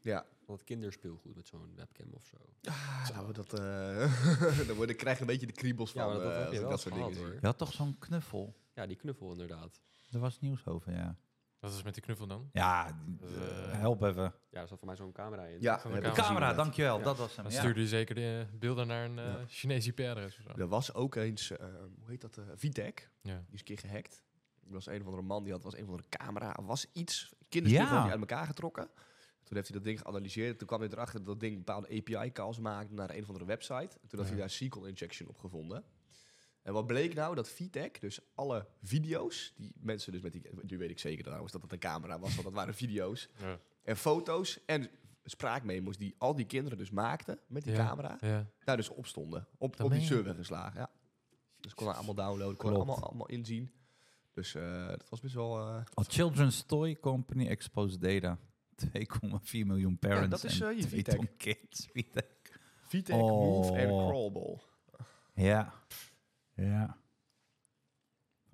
Speaker 3: Ja,
Speaker 2: Dat kinderspeelgoed met zo'n webcam of zo.
Speaker 3: Ah, nou, dat, eh, dan word ik, krijg ik een beetje de kriebels
Speaker 2: Ja,
Speaker 3: van
Speaker 2: maar dat,
Speaker 3: eh,
Speaker 2: heb
Speaker 3: als
Speaker 2: je
Speaker 3: ik
Speaker 2: wel
Speaker 3: dat
Speaker 2: eens
Speaker 3: soort
Speaker 2: gehad
Speaker 3: dingen
Speaker 2: hoor.
Speaker 3: zie.
Speaker 1: Je had toch zo'n knuffel?
Speaker 2: Ja, die knuffel inderdaad.
Speaker 1: Er was nieuws over, ja.
Speaker 4: Dat is met die knuffel dan.
Speaker 1: Ja,
Speaker 4: Eh,
Speaker 1: help even.
Speaker 2: Ja, er zat voor mij zo'n camera in.
Speaker 3: Ja,
Speaker 4: Van
Speaker 3: heb
Speaker 1: De
Speaker 4: de
Speaker 3: ik
Speaker 4: camera.
Speaker 3: gezien,
Speaker 1: camera,
Speaker 3: inderdaad.
Speaker 1: dankjewel.
Speaker 2: Ja.
Speaker 1: Dat was hem.
Speaker 4: Dan
Speaker 1: Ja.
Speaker 4: stuurde je zeker de eh, beelden naar een eh
Speaker 3: Ja.
Speaker 4: Chinese IP-adres of zo.
Speaker 3: Er was ook eens, eh, hoe heet dat, eh Vitek.
Speaker 4: Ja.
Speaker 3: Die is een keer gehackt. Er was een of andere man, die had was een of andere camera. Er was iets, kinderspel
Speaker 1: Ja.
Speaker 3: die uit elkaar getrokken. Toen heeft hij dat ding geanalyseerd. Toen kwam hij erachter dat dat ding bepaalde API-calls maakte naar een of andere website. En toen had
Speaker 4: Ja.
Speaker 3: hij daar SQL injection op gevonden. En wat bleek nou? Dat VTech, dus alle video's, die mensen dus met die... Nu weet ik zeker trouwens dat dat een camera was, want dat waren video's.
Speaker 4: Ja.
Speaker 3: En foto's en spraakmemo's die al die kinderen dus maakten met die
Speaker 4: Ja.
Speaker 3: camera.
Speaker 4: ja.
Speaker 3: Daar dus op stonden. Op,
Speaker 4: Dan
Speaker 3: op die
Speaker 4: ben je-
Speaker 3: server geslagen, ja. Dus kon hij allemaal downloaden, kon hij
Speaker 1: Klopt.
Speaker 3: allemaal, allemaal inzien. Dus eh, dat was best wel... eh,
Speaker 1: A Oh, Children's Toy Company exposed data. 2,4 miljoen parents
Speaker 3: dat is,
Speaker 1: en
Speaker 3: eh, je
Speaker 1: twee
Speaker 3: VTech.
Speaker 1: ton kids. VTech.
Speaker 3: VTech,
Speaker 1: Oh.
Speaker 3: Move en Crawlball.
Speaker 1: Ja. Ja.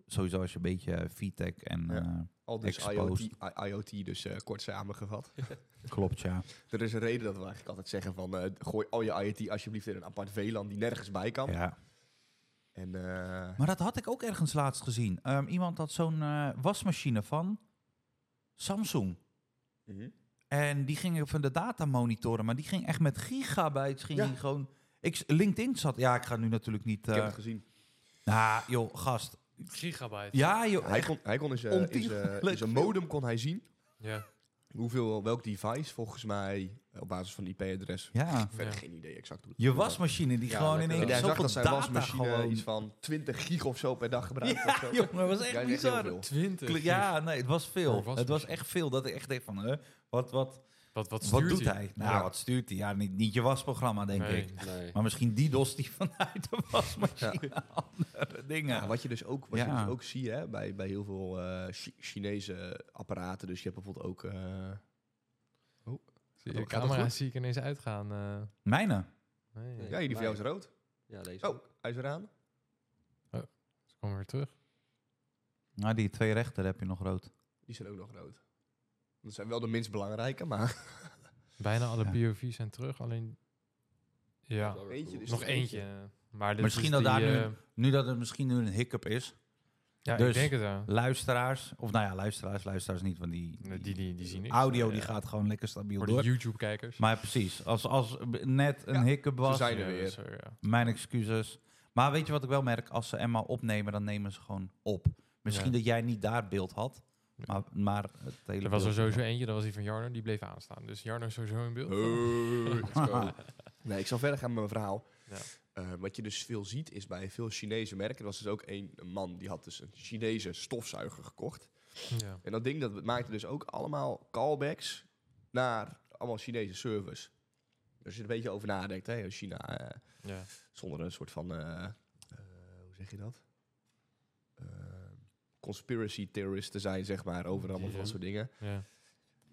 Speaker 1: Sowieso als je een beetje eh, VTech en...
Speaker 3: Ja.
Speaker 1: eh,
Speaker 3: Al dus IoT,
Speaker 1: Exposed.
Speaker 3: I- IoT dus eh, kort samengevat.
Speaker 1: eh, Klopt, ja.
Speaker 3: er is een reden dat we eigenlijk altijd zeggen van... eh, gooi al je IoT alsjeblieft in een apart VLAN die nergens bij kan.
Speaker 1: ja.
Speaker 3: En eh,
Speaker 1: Maar dat had ik ook ergens laatst gezien. Ehm, iemand had zo'n eh, wasmachine van Samsung.
Speaker 3: mhm.
Speaker 1: En die gingen van de data monitoren, maar die ging echt met gigabytes. Ging
Speaker 3: Ja.
Speaker 1: die gewoon. Ik, LinkedIn zat. Ja, ik ga nu natuurlijk niet.
Speaker 3: ik
Speaker 1: eh
Speaker 3: heb het gezien.
Speaker 1: nou, joh, gast.
Speaker 4: Gigabyte.
Speaker 1: Ja, joh.
Speaker 3: Hij
Speaker 1: echt.
Speaker 3: kon, hij kon in zijn- in zijn in
Speaker 1: Ontiegelijk
Speaker 3: zijn modem kon hij zien
Speaker 4: Ja.
Speaker 3: hoeveel, welk device volgens mij op basis van IP-adres.
Speaker 1: Ja.
Speaker 3: Verder
Speaker 4: Ja.
Speaker 3: geen idee exact hoe dat
Speaker 1: Je
Speaker 3: hoe dat
Speaker 1: wasmachine die
Speaker 2: Ja,
Speaker 1: gewoon in
Speaker 2: lekker
Speaker 1: één
Speaker 3: En
Speaker 1: keer
Speaker 3: hij zag
Speaker 1: zoveel
Speaker 3: dat zijn
Speaker 1: data
Speaker 3: wasmachine
Speaker 1: gewoon.
Speaker 3: iets van 20 gig of zo per dag gebruikt. of zo.
Speaker 1: Ja, jongen, dat was echt
Speaker 3: Ja, heel
Speaker 1: bizar.
Speaker 3: veel.
Speaker 4: 20.
Speaker 1: Ja, nee, het was
Speaker 4: Per
Speaker 1: veel. Het was
Speaker 4: wasmachine.
Speaker 1: echt veel dat ik echt denk van, eh, wat, wat,
Speaker 4: Wat, wat,
Speaker 1: wat
Speaker 4: stuurt
Speaker 1: doet
Speaker 4: hij?
Speaker 1: hij? Nou,
Speaker 3: Ja.
Speaker 1: wat stuurt hij? Ja, niet, niet je wasprogramma, denk
Speaker 4: Nee.
Speaker 1: ik.
Speaker 2: Nee.
Speaker 1: Maar misschien die dos die vanuit de wasmachine andere dingen.
Speaker 3: Ja, wat je dus ook, wat je
Speaker 1: Ja.
Speaker 3: dus ook ziet hè, bij, bij heel veel eh, Chi- Chinese apparaten. Dus je hebt bijvoorbeeld ook... eh,
Speaker 4: Zie
Speaker 3: Gaat
Speaker 4: je De
Speaker 3: dat- gaat dat
Speaker 4: camera
Speaker 3: goed?
Speaker 4: zie ik ineens uitgaan. eh,
Speaker 1: Mijne.
Speaker 4: nee.
Speaker 2: Nee.
Speaker 3: ja, die van jou is rood.
Speaker 2: Ja, deze.
Speaker 3: Oh, hij is eraan.
Speaker 4: Ze komen weer terug.
Speaker 1: Nou, die twee rechter heb je nog rood.
Speaker 3: Die zijn ook nog rood. Dat zijn wel de minst belangrijke, maar...
Speaker 4: Bijna alle
Speaker 1: Ja.
Speaker 4: POV's zijn terug, alleen Ja,
Speaker 2: Wel weer
Speaker 3: Eentje
Speaker 2: cool.
Speaker 3: dus.
Speaker 4: nog
Speaker 3: er eentje.
Speaker 4: eentje. Maar dit
Speaker 1: Misschien
Speaker 4: is
Speaker 1: dat
Speaker 4: die,
Speaker 1: daar nu-
Speaker 4: eh,
Speaker 1: Nu dat het misschien nu een hiccup is,
Speaker 4: ja,
Speaker 1: dus-
Speaker 4: ik denk het wel.
Speaker 1: luisteraars, of nou ja, luisteraars, luisteraars niet, want die,
Speaker 4: Nee, Die, die, die zien niks.
Speaker 1: audio
Speaker 4: Ja,
Speaker 1: die
Speaker 4: ja.
Speaker 1: gaat gewoon lekker stabiel
Speaker 4: Voor de
Speaker 1: door.
Speaker 4: YouTube-kijkers.
Speaker 1: Maar precies, als, als net een
Speaker 3: Ja,
Speaker 1: hiccup was,
Speaker 3: zijn er
Speaker 4: Ja,
Speaker 3: weer.
Speaker 4: zo, ja.
Speaker 1: mijn excuses. Maar weet je wat ik wel merk? Als ze Emma opnemen, dan nemen ze gewoon op. Misschien
Speaker 4: Ja.
Speaker 1: dat jij niet daar beeld had,
Speaker 4: Ja.
Speaker 1: maar, maar het hele
Speaker 4: Er was er
Speaker 1: beeld-
Speaker 4: sowieso eentje, dat was die van Jarno, die bleef aanstaan. Dus Jarno is sowieso in beeld.
Speaker 3: Oh. Hey.
Speaker 2: Let's go.
Speaker 3: Nee, ik zal verder gaan met mijn verhaal.
Speaker 4: Ja.
Speaker 3: Eh, wat je dus veel ziet is bij veel Chinese merken. Er was dus ook één man die had dus een Chinese stofzuiger gekocht.
Speaker 4: Ja.
Speaker 3: En dat ding dat maakte dus ook allemaal callbacks naar allemaal Chinese servers. Dus als je er een beetje over nadenkt, hè, China eh,
Speaker 4: Ja.
Speaker 3: zonder een soort van, eh, eh, hoe zeg je dat? Eh, conspiracy theorist te zijn, zeg maar, over allemaal van dat
Speaker 4: Ja.
Speaker 3: soort dingen.
Speaker 4: Ja.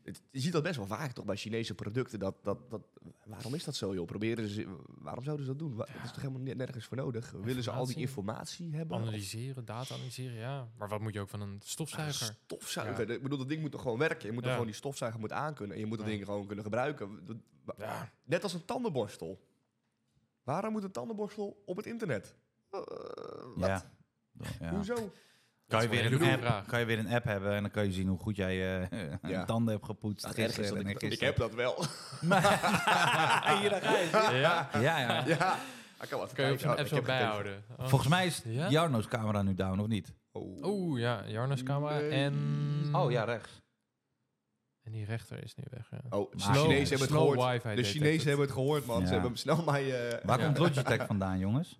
Speaker 3: Het- je ziet dat best wel vaak toch bij Chinese producten. Dat, dat, dat, waarom is dat zo, joh? Proberen ze, waarom zouden ze dat doen? Wa- Dat is toch helemaal ne- nergens voor nodig? Willen ze al die informatie hebben?
Speaker 4: Analyseren, data analyseren, ja. Maar wat moet je ook van een
Speaker 3: Of- Ah,
Speaker 4: stofzuiger?
Speaker 3: stofzuiger. Ik bedoel, dat ding moet toch gewoon werken? Je moet toch
Speaker 4: Ja.
Speaker 3: gewoon die stofzuiger moet aankunnen. En je moet dat
Speaker 4: Ja.
Speaker 3: ding gewoon kunnen gebruiken. Dat- wa-
Speaker 4: Ja.
Speaker 3: Net als een tandenborstel. Waarom moet een tandenborstel op het internet? Eh, wat?
Speaker 1: Ja. Ja.
Speaker 3: Hoezo?
Speaker 4: Dat
Speaker 1: Kan,
Speaker 4: is
Speaker 1: je
Speaker 4: wel
Speaker 1: weer
Speaker 4: hele
Speaker 1: een
Speaker 4: goede
Speaker 1: app,
Speaker 4: vraag.
Speaker 1: kan je weer een app hebben en dan kan je zien hoe goed jij eh
Speaker 3: Ja. Nou,
Speaker 1: tanden hebt gepoetst.
Speaker 3: Het ergste is
Speaker 1: gisteren
Speaker 3: dat
Speaker 1: en
Speaker 3: ik, ik
Speaker 1: gisteren.
Speaker 3: heb dat wel.
Speaker 1: Hier, daar ga je.
Speaker 4: Ja.
Speaker 1: Ja, ja.
Speaker 3: ja. Ik kan wat
Speaker 4: Kan je
Speaker 3: vertellen.
Speaker 4: ook zo'n
Speaker 3: Ik
Speaker 4: app zo
Speaker 3: heb geen
Speaker 4: bijhouden? Oh.
Speaker 1: Volgens mij is
Speaker 4: Ja?
Speaker 1: Jarno's camera nu down, of niet?
Speaker 3: telefoon. Oh.
Speaker 4: Oeh, ja, Jarno's camera
Speaker 3: Nee.
Speaker 4: en...
Speaker 3: Mm.
Speaker 1: Oh,
Speaker 3: Oh,
Speaker 1: rechts.
Speaker 4: En die rechter is nu weg, ja.
Speaker 3: Oh, de
Speaker 1: Maar-
Speaker 3: Chinezen hebben het
Speaker 4: slow
Speaker 3: gehoord.
Speaker 4: wifi
Speaker 3: De
Speaker 4: detected.
Speaker 3: Chinezen hebben het gehoord, man.
Speaker 1: Ja.
Speaker 3: Ze hebben hem snel mij... eh,
Speaker 1: Waar
Speaker 4: Ja.
Speaker 1: komt Logitech vandaan, jongens?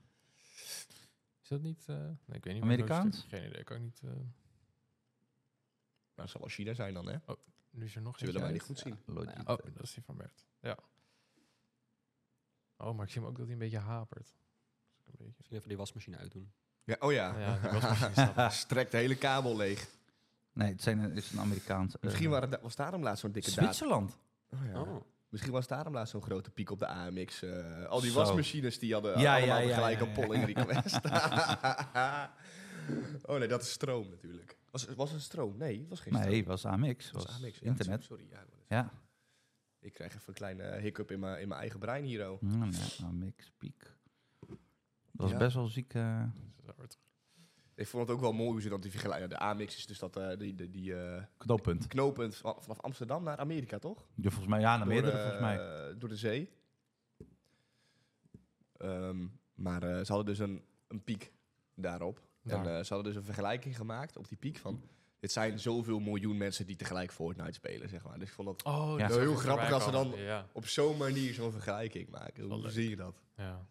Speaker 4: Is dat niet... eh, nee, ik weet niet. wat
Speaker 1: Amerikaans?
Speaker 4: Logitech- Geen idee, ik ook niet... eh,
Speaker 3: Nou, het zal wel China zijn dan, hè?
Speaker 4: nu is er nog
Speaker 3: Ze willen mij
Speaker 4: eentje
Speaker 3: niet
Speaker 4: uit.
Speaker 3: goed zien.
Speaker 1: Logitech.
Speaker 4: Oh, dat is die van Bert. Ja. Oh, maar ik zie hem ook dat hij een beetje hapert. Dat is ook Een beetje.
Speaker 2: Misschien even die wasmachine uitdoen.
Speaker 3: Ja, oh ja.
Speaker 4: Ja, die wasmachine staat er.
Speaker 3: Strekt de hele kabel leeg.
Speaker 1: Nee, het zijn, het is een Amerikaans. eh,
Speaker 3: Misschien waren da- was daarom laatst zo'n dikke daad.
Speaker 1: Zwitserland.
Speaker 3: Oh, ja.
Speaker 2: Oh.
Speaker 3: Misschien was daarom laatst zo'n grote piek op de AMX. eh, al die
Speaker 1: Zo.
Speaker 3: wasmachines die hadden
Speaker 1: Ja,
Speaker 3: allemaal
Speaker 1: ja, ja,
Speaker 3: gelijk
Speaker 1: ja,
Speaker 3: een
Speaker 1: ja.
Speaker 3: polling request. oh nee, dat is stroom natuurlijk. Was, was het stroom? Nee, het was geen stroom.
Speaker 1: Nee, het was AMX.
Speaker 3: Het
Speaker 1: Was
Speaker 3: AMX, ja,
Speaker 1: internet.
Speaker 3: Sorry, ja, maar dat is-
Speaker 1: Ja.
Speaker 3: ik krijg even een kleine hiccup in mijn in mijn eigen brein hier. oh.
Speaker 1: Mm, ja, AMX, piek. Dat was
Speaker 3: Ja.
Speaker 1: best wel ziek. eh.
Speaker 4: Dus dat wordt-
Speaker 3: Ik vond het ook wel mooi hoe ze dat die vergelijken. De AMX is dus dat eh, die, die, die eh,
Speaker 1: knooppunt.
Speaker 3: knooppunt van- vanaf Amsterdam naar Amerika, toch?
Speaker 1: Ja, volgens mij, ja, naar meerdere
Speaker 3: eh,
Speaker 1: volgens mij.
Speaker 3: Door de zee. Ehm, maar eh, ze hadden dus een, een piek daarop. En
Speaker 4: Daar.
Speaker 3: eh, ze hadden dus een vergelijking gemaakt op die piek van... Dit zijn zoveel miljoen mensen die tegelijk Fortnite spelen, zeg maar. Dus ik vond dat
Speaker 4: Oh,
Speaker 1: Ja.
Speaker 4: dat
Speaker 3: Heel
Speaker 4: zag ik
Speaker 3: grappig als ze
Speaker 4: voorbij
Speaker 3: dan-
Speaker 4: komen. Ja,
Speaker 3: op zo'n manier zo'n vergelijking maken.
Speaker 4: wel
Speaker 3: Hoe
Speaker 4: leuk.
Speaker 3: zie je dat?
Speaker 4: ja.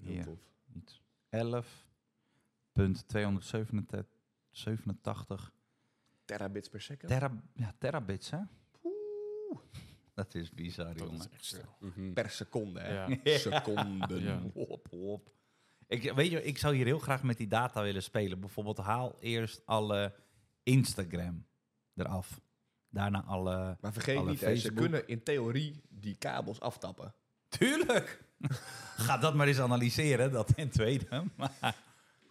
Speaker 3: Heel
Speaker 1: Ja.
Speaker 3: tof.
Speaker 1: 11.287
Speaker 3: Terabits per second.
Speaker 1: tera, ja, terabits, hè? Dat is bizar,
Speaker 4: Dat is
Speaker 1: jongen.
Speaker 4: echt snel.
Speaker 2: Mhm.
Speaker 3: per seconde, hè?
Speaker 4: Ja.
Speaker 3: Seconden.
Speaker 4: Ja.
Speaker 1: Hop, hop. Ik, weet je, ik zou hier heel graag met die data willen spelen. Bijvoorbeeld haal eerst alle Instagram eraf. Daarna alle...
Speaker 3: Maar vergeet
Speaker 1: Alle
Speaker 3: niet, hè, ze
Speaker 1: Facebook.
Speaker 3: kunnen in theorie die kabels aftappen.
Speaker 1: Tuurlijk! Ga dat maar eens analyseren, dat ten tweede.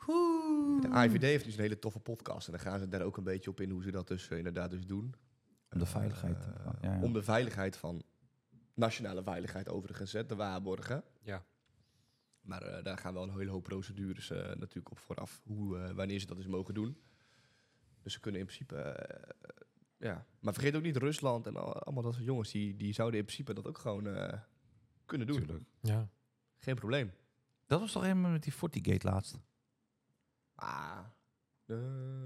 Speaker 1: Maar,
Speaker 3: De AIVD heeft dus een hele toffe podcast. En dan gaan ze daar ook een beetje op in hoe ze dat dus eh, inderdaad dus doen.
Speaker 1: Om de veiligheid,
Speaker 3: Eh,
Speaker 1: ja, ja.
Speaker 3: Om de veiligheid van... Nationale veiligheid overigens, hè, te waarborgen.
Speaker 2: Ja.
Speaker 3: Maar eh, daar gaan wel een hele hoop procedures eh, natuurlijk op vooraf. Hoe, eh, wanneer ze dat dus mogen doen. Dus ze kunnen in principe... eh, ja. Maar vergeet ook niet Rusland en al- allemaal dat soort jongens. Die, die zouden in principe dat ook gewoon eh, kunnen doen.
Speaker 4: Ja.
Speaker 3: Geen probleem.
Speaker 1: Dat was toch helemaal met die FortiGate laatst?
Speaker 3: Ah. eh,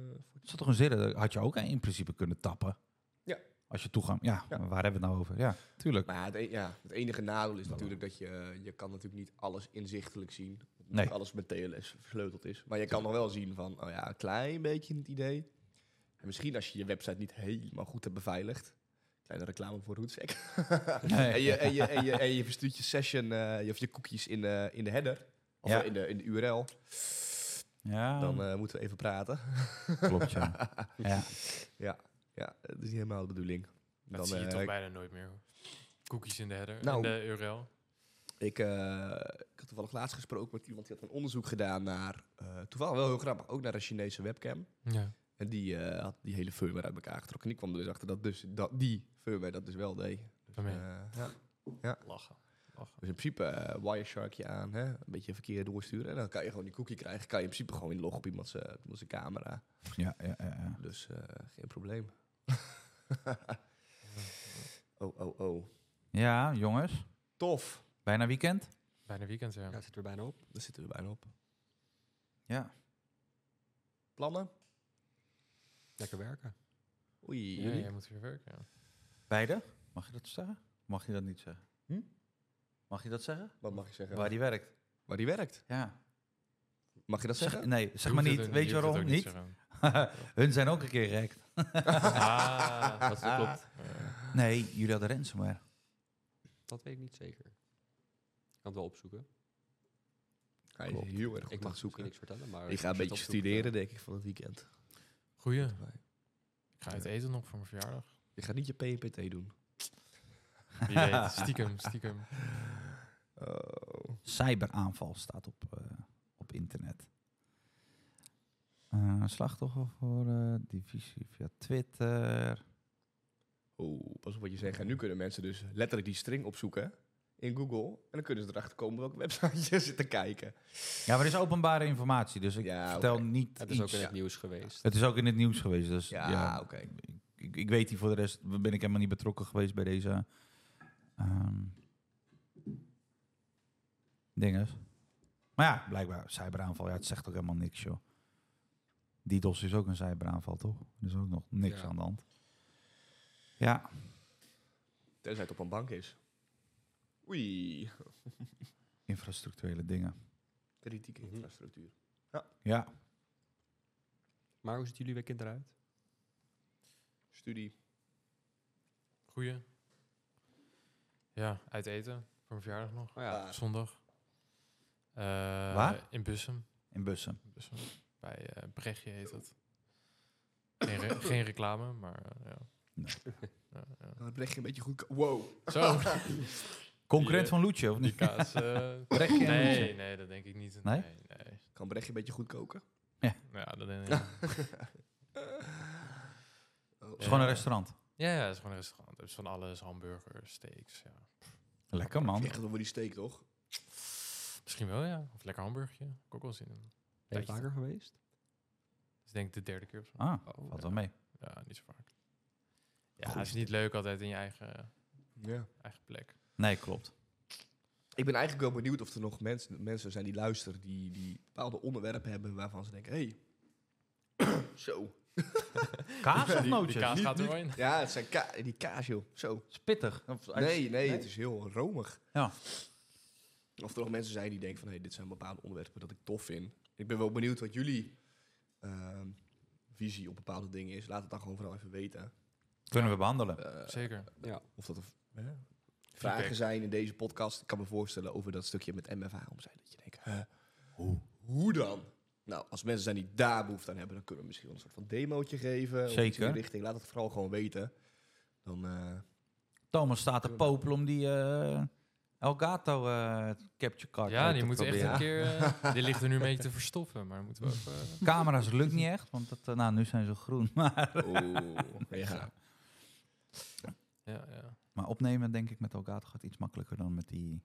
Speaker 1: Er zat toch een zin, dat had je ook in principe kunnen tappen?
Speaker 3: Ja.
Speaker 1: Als je toegang... Ja,
Speaker 3: Ja.
Speaker 1: waar hebben we het nou over? Ja, tuurlijk.
Speaker 3: maar ja, het, e- ja, het enige nadeel is natuurlijk dat je... Je kan natuurlijk niet alles inzichtelijk zien. Omdat
Speaker 1: Nee.
Speaker 3: Alles met TLS versleuteld is. Maar je kan nog wel zien van... Oh ja, een klein beetje het idee. En misschien als je je website niet helemaal goed hebt beveiligd. Kleine reclame voor Rootsec. en, je, en, je, en, je, en je verstuurt je session... eh, je- of je cookies in, eh, in de header. Of
Speaker 1: Ja.
Speaker 3: in, de, in de URL.
Speaker 1: Ja,
Speaker 4: Um.
Speaker 3: Dan eh, moeten we even praten.
Speaker 1: klopt, ja. ja.
Speaker 3: Ja, dat is niet helemaal de bedoeling.
Speaker 4: Dat
Speaker 3: Dan,
Speaker 4: zie je
Speaker 3: eh,
Speaker 4: toch bijna nooit meer. hoor. Cookies in de header,
Speaker 3: Nou.
Speaker 4: in de URL.
Speaker 3: Ik, eh, ik had toevallig laatst gesproken met iemand die had een onderzoek gedaan naar, eh, toevallig wel heel grappig, ook naar een Chinese webcam.
Speaker 4: Ja.
Speaker 3: En die eh, had die hele firmware uit elkaar getrokken. En ik kwam er dus achter dat, dus, dat die firmware dat dus wel deed. Dus,
Speaker 4: Daarmee.
Speaker 3: eh,
Speaker 4: eh, Lachen. Ach,
Speaker 3: Dus in principe eh, Wiresharkje aan, hè? een beetje verkeer doorsturen. En dan kan je gewoon die cookie krijgen. Kan je in principe gewoon inloggen op iemands, eh, op iemands camera.
Speaker 1: Ja, ja, ja, ja.
Speaker 3: Dus eh, geen probleem. oh, oh, oh.
Speaker 1: ja, jongens.
Speaker 3: Tof.
Speaker 1: Bijna weekend.
Speaker 4: bijna weekend, ja.
Speaker 2: Ja, het zit er bijna op.
Speaker 3: Daar zitten we bijna op.
Speaker 1: Ja.
Speaker 3: Plannen?
Speaker 2: Lekker werken.
Speaker 3: Oei,
Speaker 4: Ja,
Speaker 3: jullie?
Speaker 4: jij moet weer werken, ja.
Speaker 1: Beide? Mag je dat zeggen? Mag je dat niet zeggen?
Speaker 3: Hm?
Speaker 1: Mag je dat zeggen?
Speaker 3: Wat mag ik zeggen?
Speaker 1: Waar
Speaker 3: Waar,
Speaker 1: die werkt.
Speaker 3: die werkt.
Speaker 1: Ja.
Speaker 3: Mag je dat
Speaker 1: Zeg-
Speaker 3: zeggen?
Speaker 1: nee, zeg maar niet. Weet je waarom? Niet. Hun zijn ook een keer gek.
Speaker 4: ah, dat klopt.
Speaker 1: Nee, jullie hadden ransomware.
Speaker 2: Dat weet ik niet zeker. Ik kan het wel opzoeken.
Speaker 3: Hij is
Speaker 1: Klopt.
Speaker 3: heel erg
Speaker 2: Ik
Speaker 3: goed aan
Speaker 2: mag
Speaker 3: het zoeken.
Speaker 2: niks vertellen, maar...
Speaker 3: Ik ga een beetje studeren, denk ik, van het weekend.
Speaker 4: Goeie. Ik ga uit eten nog voor mijn verjaardag.
Speaker 3: Je gaat niet je PNPT doen.
Speaker 4: Wie weet, stiekem, stiekem.
Speaker 3: Oh.
Speaker 1: Cyberaanval staat op, eh, op internet. Eh, slachtoffer voor eh, divisie via Twitter.
Speaker 3: Oeh, Oh, pas op wat je zegt. En nu kunnen mensen dus letterlijk die string opzoeken in Google. En dan kunnen ze erachter komen welke website je zit te kijken.
Speaker 1: Ja, maar er is openbare informatie, dus ik
Speaker 3: Ja,
Speaker 1: vertel
Speaker 3: oké.
Speaker 1: niet
Speaker 2: Het is
Speaker 1: iets.
Speaker 2: ook in het
Speaker 3: Ja.
Speaker 2: nieuws geweest.
Speaker 1: Het is ook in het nieuws geweest, dus
Speaker 3: Ja,
Speaker 1: ja.
Speaker 3: oké.
Speaker 1: ik, ik weet hier voor de rest, ben ik helemaal niet betrokken geweest bij deze ehm dinges. Maar ja, blijkbaar, cyberaanval, ja, het zegt ook helemaal niks, joh. DDoS is ook een cyberaanval, toch? Er is ook nog niks
Speaker 2: Ja.
Speaker 1: aan de hand. Ja,
Speaker 3: Tenzij het op een bank is. Oei,
Speaker 1: infrastructurele dingen.
Speaker 3: kritieke
Speaker 2: Mhm.
Speaker 3: infrastructuur.
Speaker 1: Ja,
Speaker 2: Maar hoe ziet jullie weekend eruit?
Speaker 3: Studie.
Speaker 4: Goeie. Ja, uit eten voor mijn verjaardag nog.
Speaker 2: Oh ja,
Speaker 3: Ah.
Speaker 4: Zondag. Eh,
Speaker 1: Waar?
Speaker 4: In Bussum.
Speaker 1: in bussen.
Speaker 4: In Bussum. Bij eh Brechtje heet dat. Geen, re- geen reclame, maar eh, ja.
Speaker 1: Nee.
Speaker 4: Ja, ja.
Speaker 3: Dan leg je een beetje goed... Wow.
Speaker 4: Zo,
Speaker 1: Concurrent
Speaker 4: eh,
Speaker 1: van Loetje, of
Speaker 4: die
Speaker 1: niet?
Speaker 4: kaas. eh,
Speaker 1: Brechtje en
Speaker 4: nee,
Speaker 1: Loetje.
Speaker 4: nee, dat denk ik niet.
Speaker 1: Nee?
Speaker 4: Nee, nee.
Speaker 3: Kan Brechtje een beetje goed koken?
Speaker 4: Ja, dat denk ik niet.
Speaker 3: Oh.
Speaker 1: Het is gewoon een
Speaker 4: Ja.
Speaker 1: restaurant.
Speaker 4: Ja, ja, het is gewoon een restaurant. Dus van alles, hamburgers, steaks. Ja.
Speaker 1: Lekker, man.
Speaker 3: Echt over die steek, toch?
Speaker 4: Misschien wel, ja. Of lekker hamburgertje. Heb Ik ook wel zin in.
Speaker 2: ben je
Speaker 4: Tijdje.
Speaker 2: vaker geweest?
Speaker 4: Dat is denk ik de derde keer of zo.
Speaker 1: Ah,
Speaker 2: Oh,
Speaker 1: valt wel mee.
Speaker 4: Ja, niet zo vaak. Ja,
Speaker 3: Goed.
Speaker 4: het is niet leuk altijd in je eigen,
Speaker 3: Ja.
Speaker 4: eigen plek.
Speaker 1: Nee, klopt.
Speaker 3: Ik ben eigenlijk wel benieuwd of er nog mensen, mensen zijn die luisteren... Die, die bepaalde onderwerpen hebben waarvan ze denken... Hé, hey. zo.
Speaker 1: Kaas of
Speaker 4: Die- die,
Speaker 1: nootjes?
Speaker 4: kaas
Speaker 3: Niet-
Speaker 4: gaat er
Speaker 3: niet- Eh,
Speaker 4: wel in.
Speaker 3: Ja, het zijn ka die kaas, joh. Zo.
Speaker 1: Spittig. Of-
Speaker 3: Nee, nee, het is heel romig.
Speaker 1: Ja.
Speaker 3: Of er nog mensen zijn die denken van... Hey, dit zijn bepaalde onderwerpen dat ik tof vind. Ik ben wel benieuwd wat jullie ehm, visie op bepaalde dingen is. Laat het dan gewoon vooral even weten.
Speaker 1: Kunnen we behandelen.
Speaker 3: Eh,
Speaker 4: Zeker.
Speaker 3: Of dat er hè, vragen zijn in deze podcast. Ik kan me voorstellen over dat stukje met MFA om zijn. Dat je denkt, hè, hoe? hoe dan? Nou, als mensen zijn die daar behoefte aan hebben... dan kunnen we misschien wel een soort van demootje geven. Of iets in
Speaker 1: Zeker.
Speaker 3: die richting. Laat het vooral gewoon weten. Dan... eh,
Speaker 1: Thomas staat te popelen om die eh, Elgato eh, capture card
Speaker 4: Ja,
Speaker 1: uit
Speaker 4: die
Speaker 1: te
Speaker 4: moet echt
Speaker 1: proberen.
Speaker 4: een keer... eh, die ligt er nu een beetje te verstoppen, maar moeten we ook... eh,
Speaker 1: Camera's lukt niet echt, want dat, eh, nou, nu zijn ze groen. Maar,
Speaker 3: Oeh,
Speaker 1: Oh,
Speaker 3: ja.
Speaker 4: ja, ja.
Speaker 1: maar opnemen denk ik met Elgato gaat iets makkelijker dan met die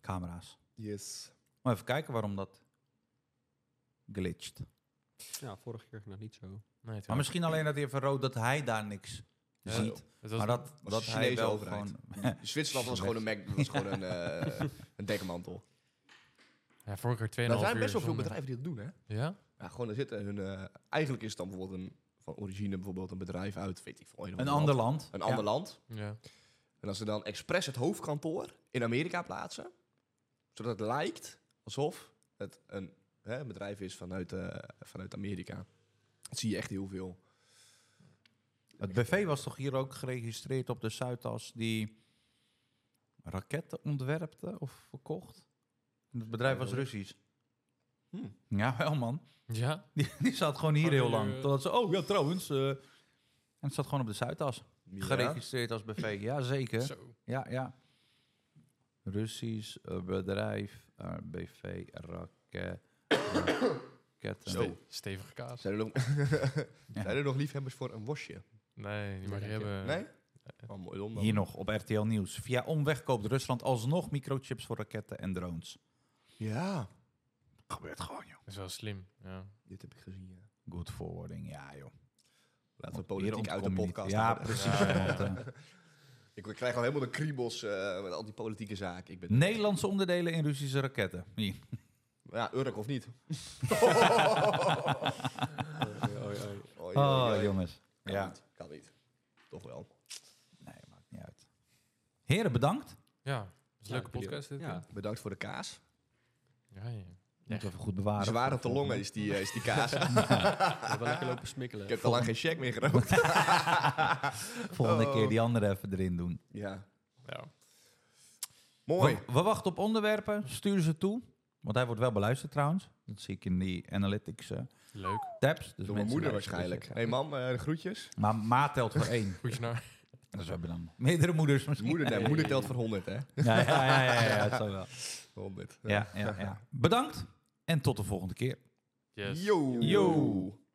Speaker 1: camera's.
Speaker 3: Yes.
Speaker 1: Maar even kijken waarom dat glitcht.
Speaker 2: Ja, vorige keer ging dat niet zo.
Speaker 4: Nee,
Speaker 1: Maar misschien alleen dat hij even rood dat hij daar niks
Speaker 4: Ja,
Speaker 1: ziet.
Speaker 4: het was
Speaker 1: maar dat,
Speaker 3: de
Speaker 1: dat hij
Speaker 3: Chinese
Speaker 1: wel
Speaker 3: overheid.
Speaker 1: gewoon...
Speaker 3: Zwitserland was gewoon een, Mac, was gewoon een, eh, een dekmantel.
Speaker 4: ja, vorige keer 2,5 uur.
Speaker 3: Er zijn best wel veel
Speaker 4: zonder-
Speaker 3: bedrijven die dat doen, hè?
Speaker 4: Ja?
Speaker 3: Ja, gewoon er zitten hun... eh, eigenlijk is het dan bijvoorbeeld een, van origine bijvoorbeeld een bedrijf uit, weet ik veel.
Speaker 1: een ander land.
Speaker 3: Een ander
Speaker 1: Ja.
Speaker 3: land.
Speaker 4: Ja.
Speaker 3: En als ze dan expres het hoofdkantoor in Amerika plaatsen, zodat het lijkt alsof het een hè, bedrijf is vanuit, eh, vanuit Amerika. Dat zie je echt heel veel.
Speaker 1: Het BV was toch hier ook geregistreerd op de Zuidas die raketten ontwerpte of verkocht? En het bedrijf was Russisch.
Speaker 3: Hm.
Speaker 1: Ja, wel man.
Speaker 4: Ja?
Speaker 1: Die, die zat gewoon hier
Speaker 4: Gewoon
Speaker 1: heel
Speaker 4: hier,
Speaker 1: lang.
Speaker 4: eh.
Speaker 1: Totdat ze, oh ja, trouwens. eh, en het zat gewoon op de Zuidas.
Speaker 3: Ja.
Speaker 1: Geregistreerd als BV. Ja, zeker.
Speaker 4: Zo.
Speaker 1: Ja, ja. Russisch eh, bedrijf, eh, BV, rakke- raketten.
Speaker 3: Zo.
Speaker 4: Stevige kaas.
Speaker 3: Zijn er, nog, zijn er nog liefhebbers voor een wasje?
Speaker 4: Nee, die mag je
Speaker 2: Nee, dank je.
Speaker 4: hebben.
Speaker 3: Nee? Oh, mooi dan. dan.
Speaker 1: hier nog op RTL Nieuws. Via omweg koopt Rusland alsnog microchips voor raketten en drones.
Speaker 3: Ja.
Speaker 1: Gebeurt gewoon, joh.
Speaker 4: Dat is wel slim. Ja.
Speaker 3: Dit heb ik gezien, ja.
Speaker 1: Good forwarding, ja, joh.
Speaker 3: Laten we
Speaker 1: Hier
Speaker 3: politiek uit de
Speaker 1: ontkomen we niet.
Speaker 3: podcast
Speaker 1: Ja,
Speaker 3: houden.
Speaker 1: precies. want, eh,
Speaker 3: Ik krijg al helemaal de kriebels eh, met al die politieke zaken. Ik ben...
Speaker 1: Nederlandse onderdelen in Russische raketten. Hier.
Speaker 3: Ja, Urk of niet? Oei, oei,
Speaker 1: Oh,
Speaker 3: oei.
Speaker 1: jongens.
Speaker 3: Kan
Speaker 1: Ja.
Speaker 3: niet, kan niet. Toch wel.
Speaker 1: Nee, maakt niet uit. Heren, bedankt.
Speaker 4: Ja, dat is een
Speaker 2: Ja, jullie
Speaker 4: leuke
Speaker 2: ook.
Speaker 4: podcast dit.
Speaker 2: Ja.
Speaker 4: Ja.
Speaker 3: Bedankt voor de kaas.
Speaker 4: Ja, ja.
Speaker 1: Moet
Speaker 4: Echt.
Speaker 1: even goed bewaren.
Speaker 3: Zware te longen is die, eh, is die kaas.
Speaker 2: We hebben lekker lopen smikkelen.
Speaker 3: ik heb al lang geen check meer gerookt.
Speaker 1: Volgende
Speaker 3: Oh.
Speaker 1: keer die andere even erin doen.
Speaker 3: ja.
Speaker 4: Ja.
Speaker 3: Mooi.
Speaker 1: We, we wachten op onderwerpen. Stuur ze toe. Want hij wordt wel beluisterd trouwens. Dat zie ik in die analytics eh,
Speaker 4: Leuk.
Speaker 1: tabs. Dus
Speaker 3: Door mijn
Speaker 1: mensen
Speaker 3: moeder
Speaker 1: luisteren
Speaker 3: waarschijnlijk.
Speaker 1: zeker.
Speaker 3: hey, mam, eh, de groetjes.
Speaker 1: Maar ma telt voor één.
Speaker 4: Goedje naar.
Speaker 1: Dus we hebben dan meerdere moeders misschien.
Speaker 3: Moeder, nee, moeder telt voor 100, hè?
Speaker 1: Ja, ja, ja, ja, ja, dat zal wel.
Speaker 3: 100.
Speaker 1: Ja, ja, ja. Bedankt en tot de volgende keer.
Speaker 4: Yes.
Speaker 3: Yo.
Speaker 1: Yo.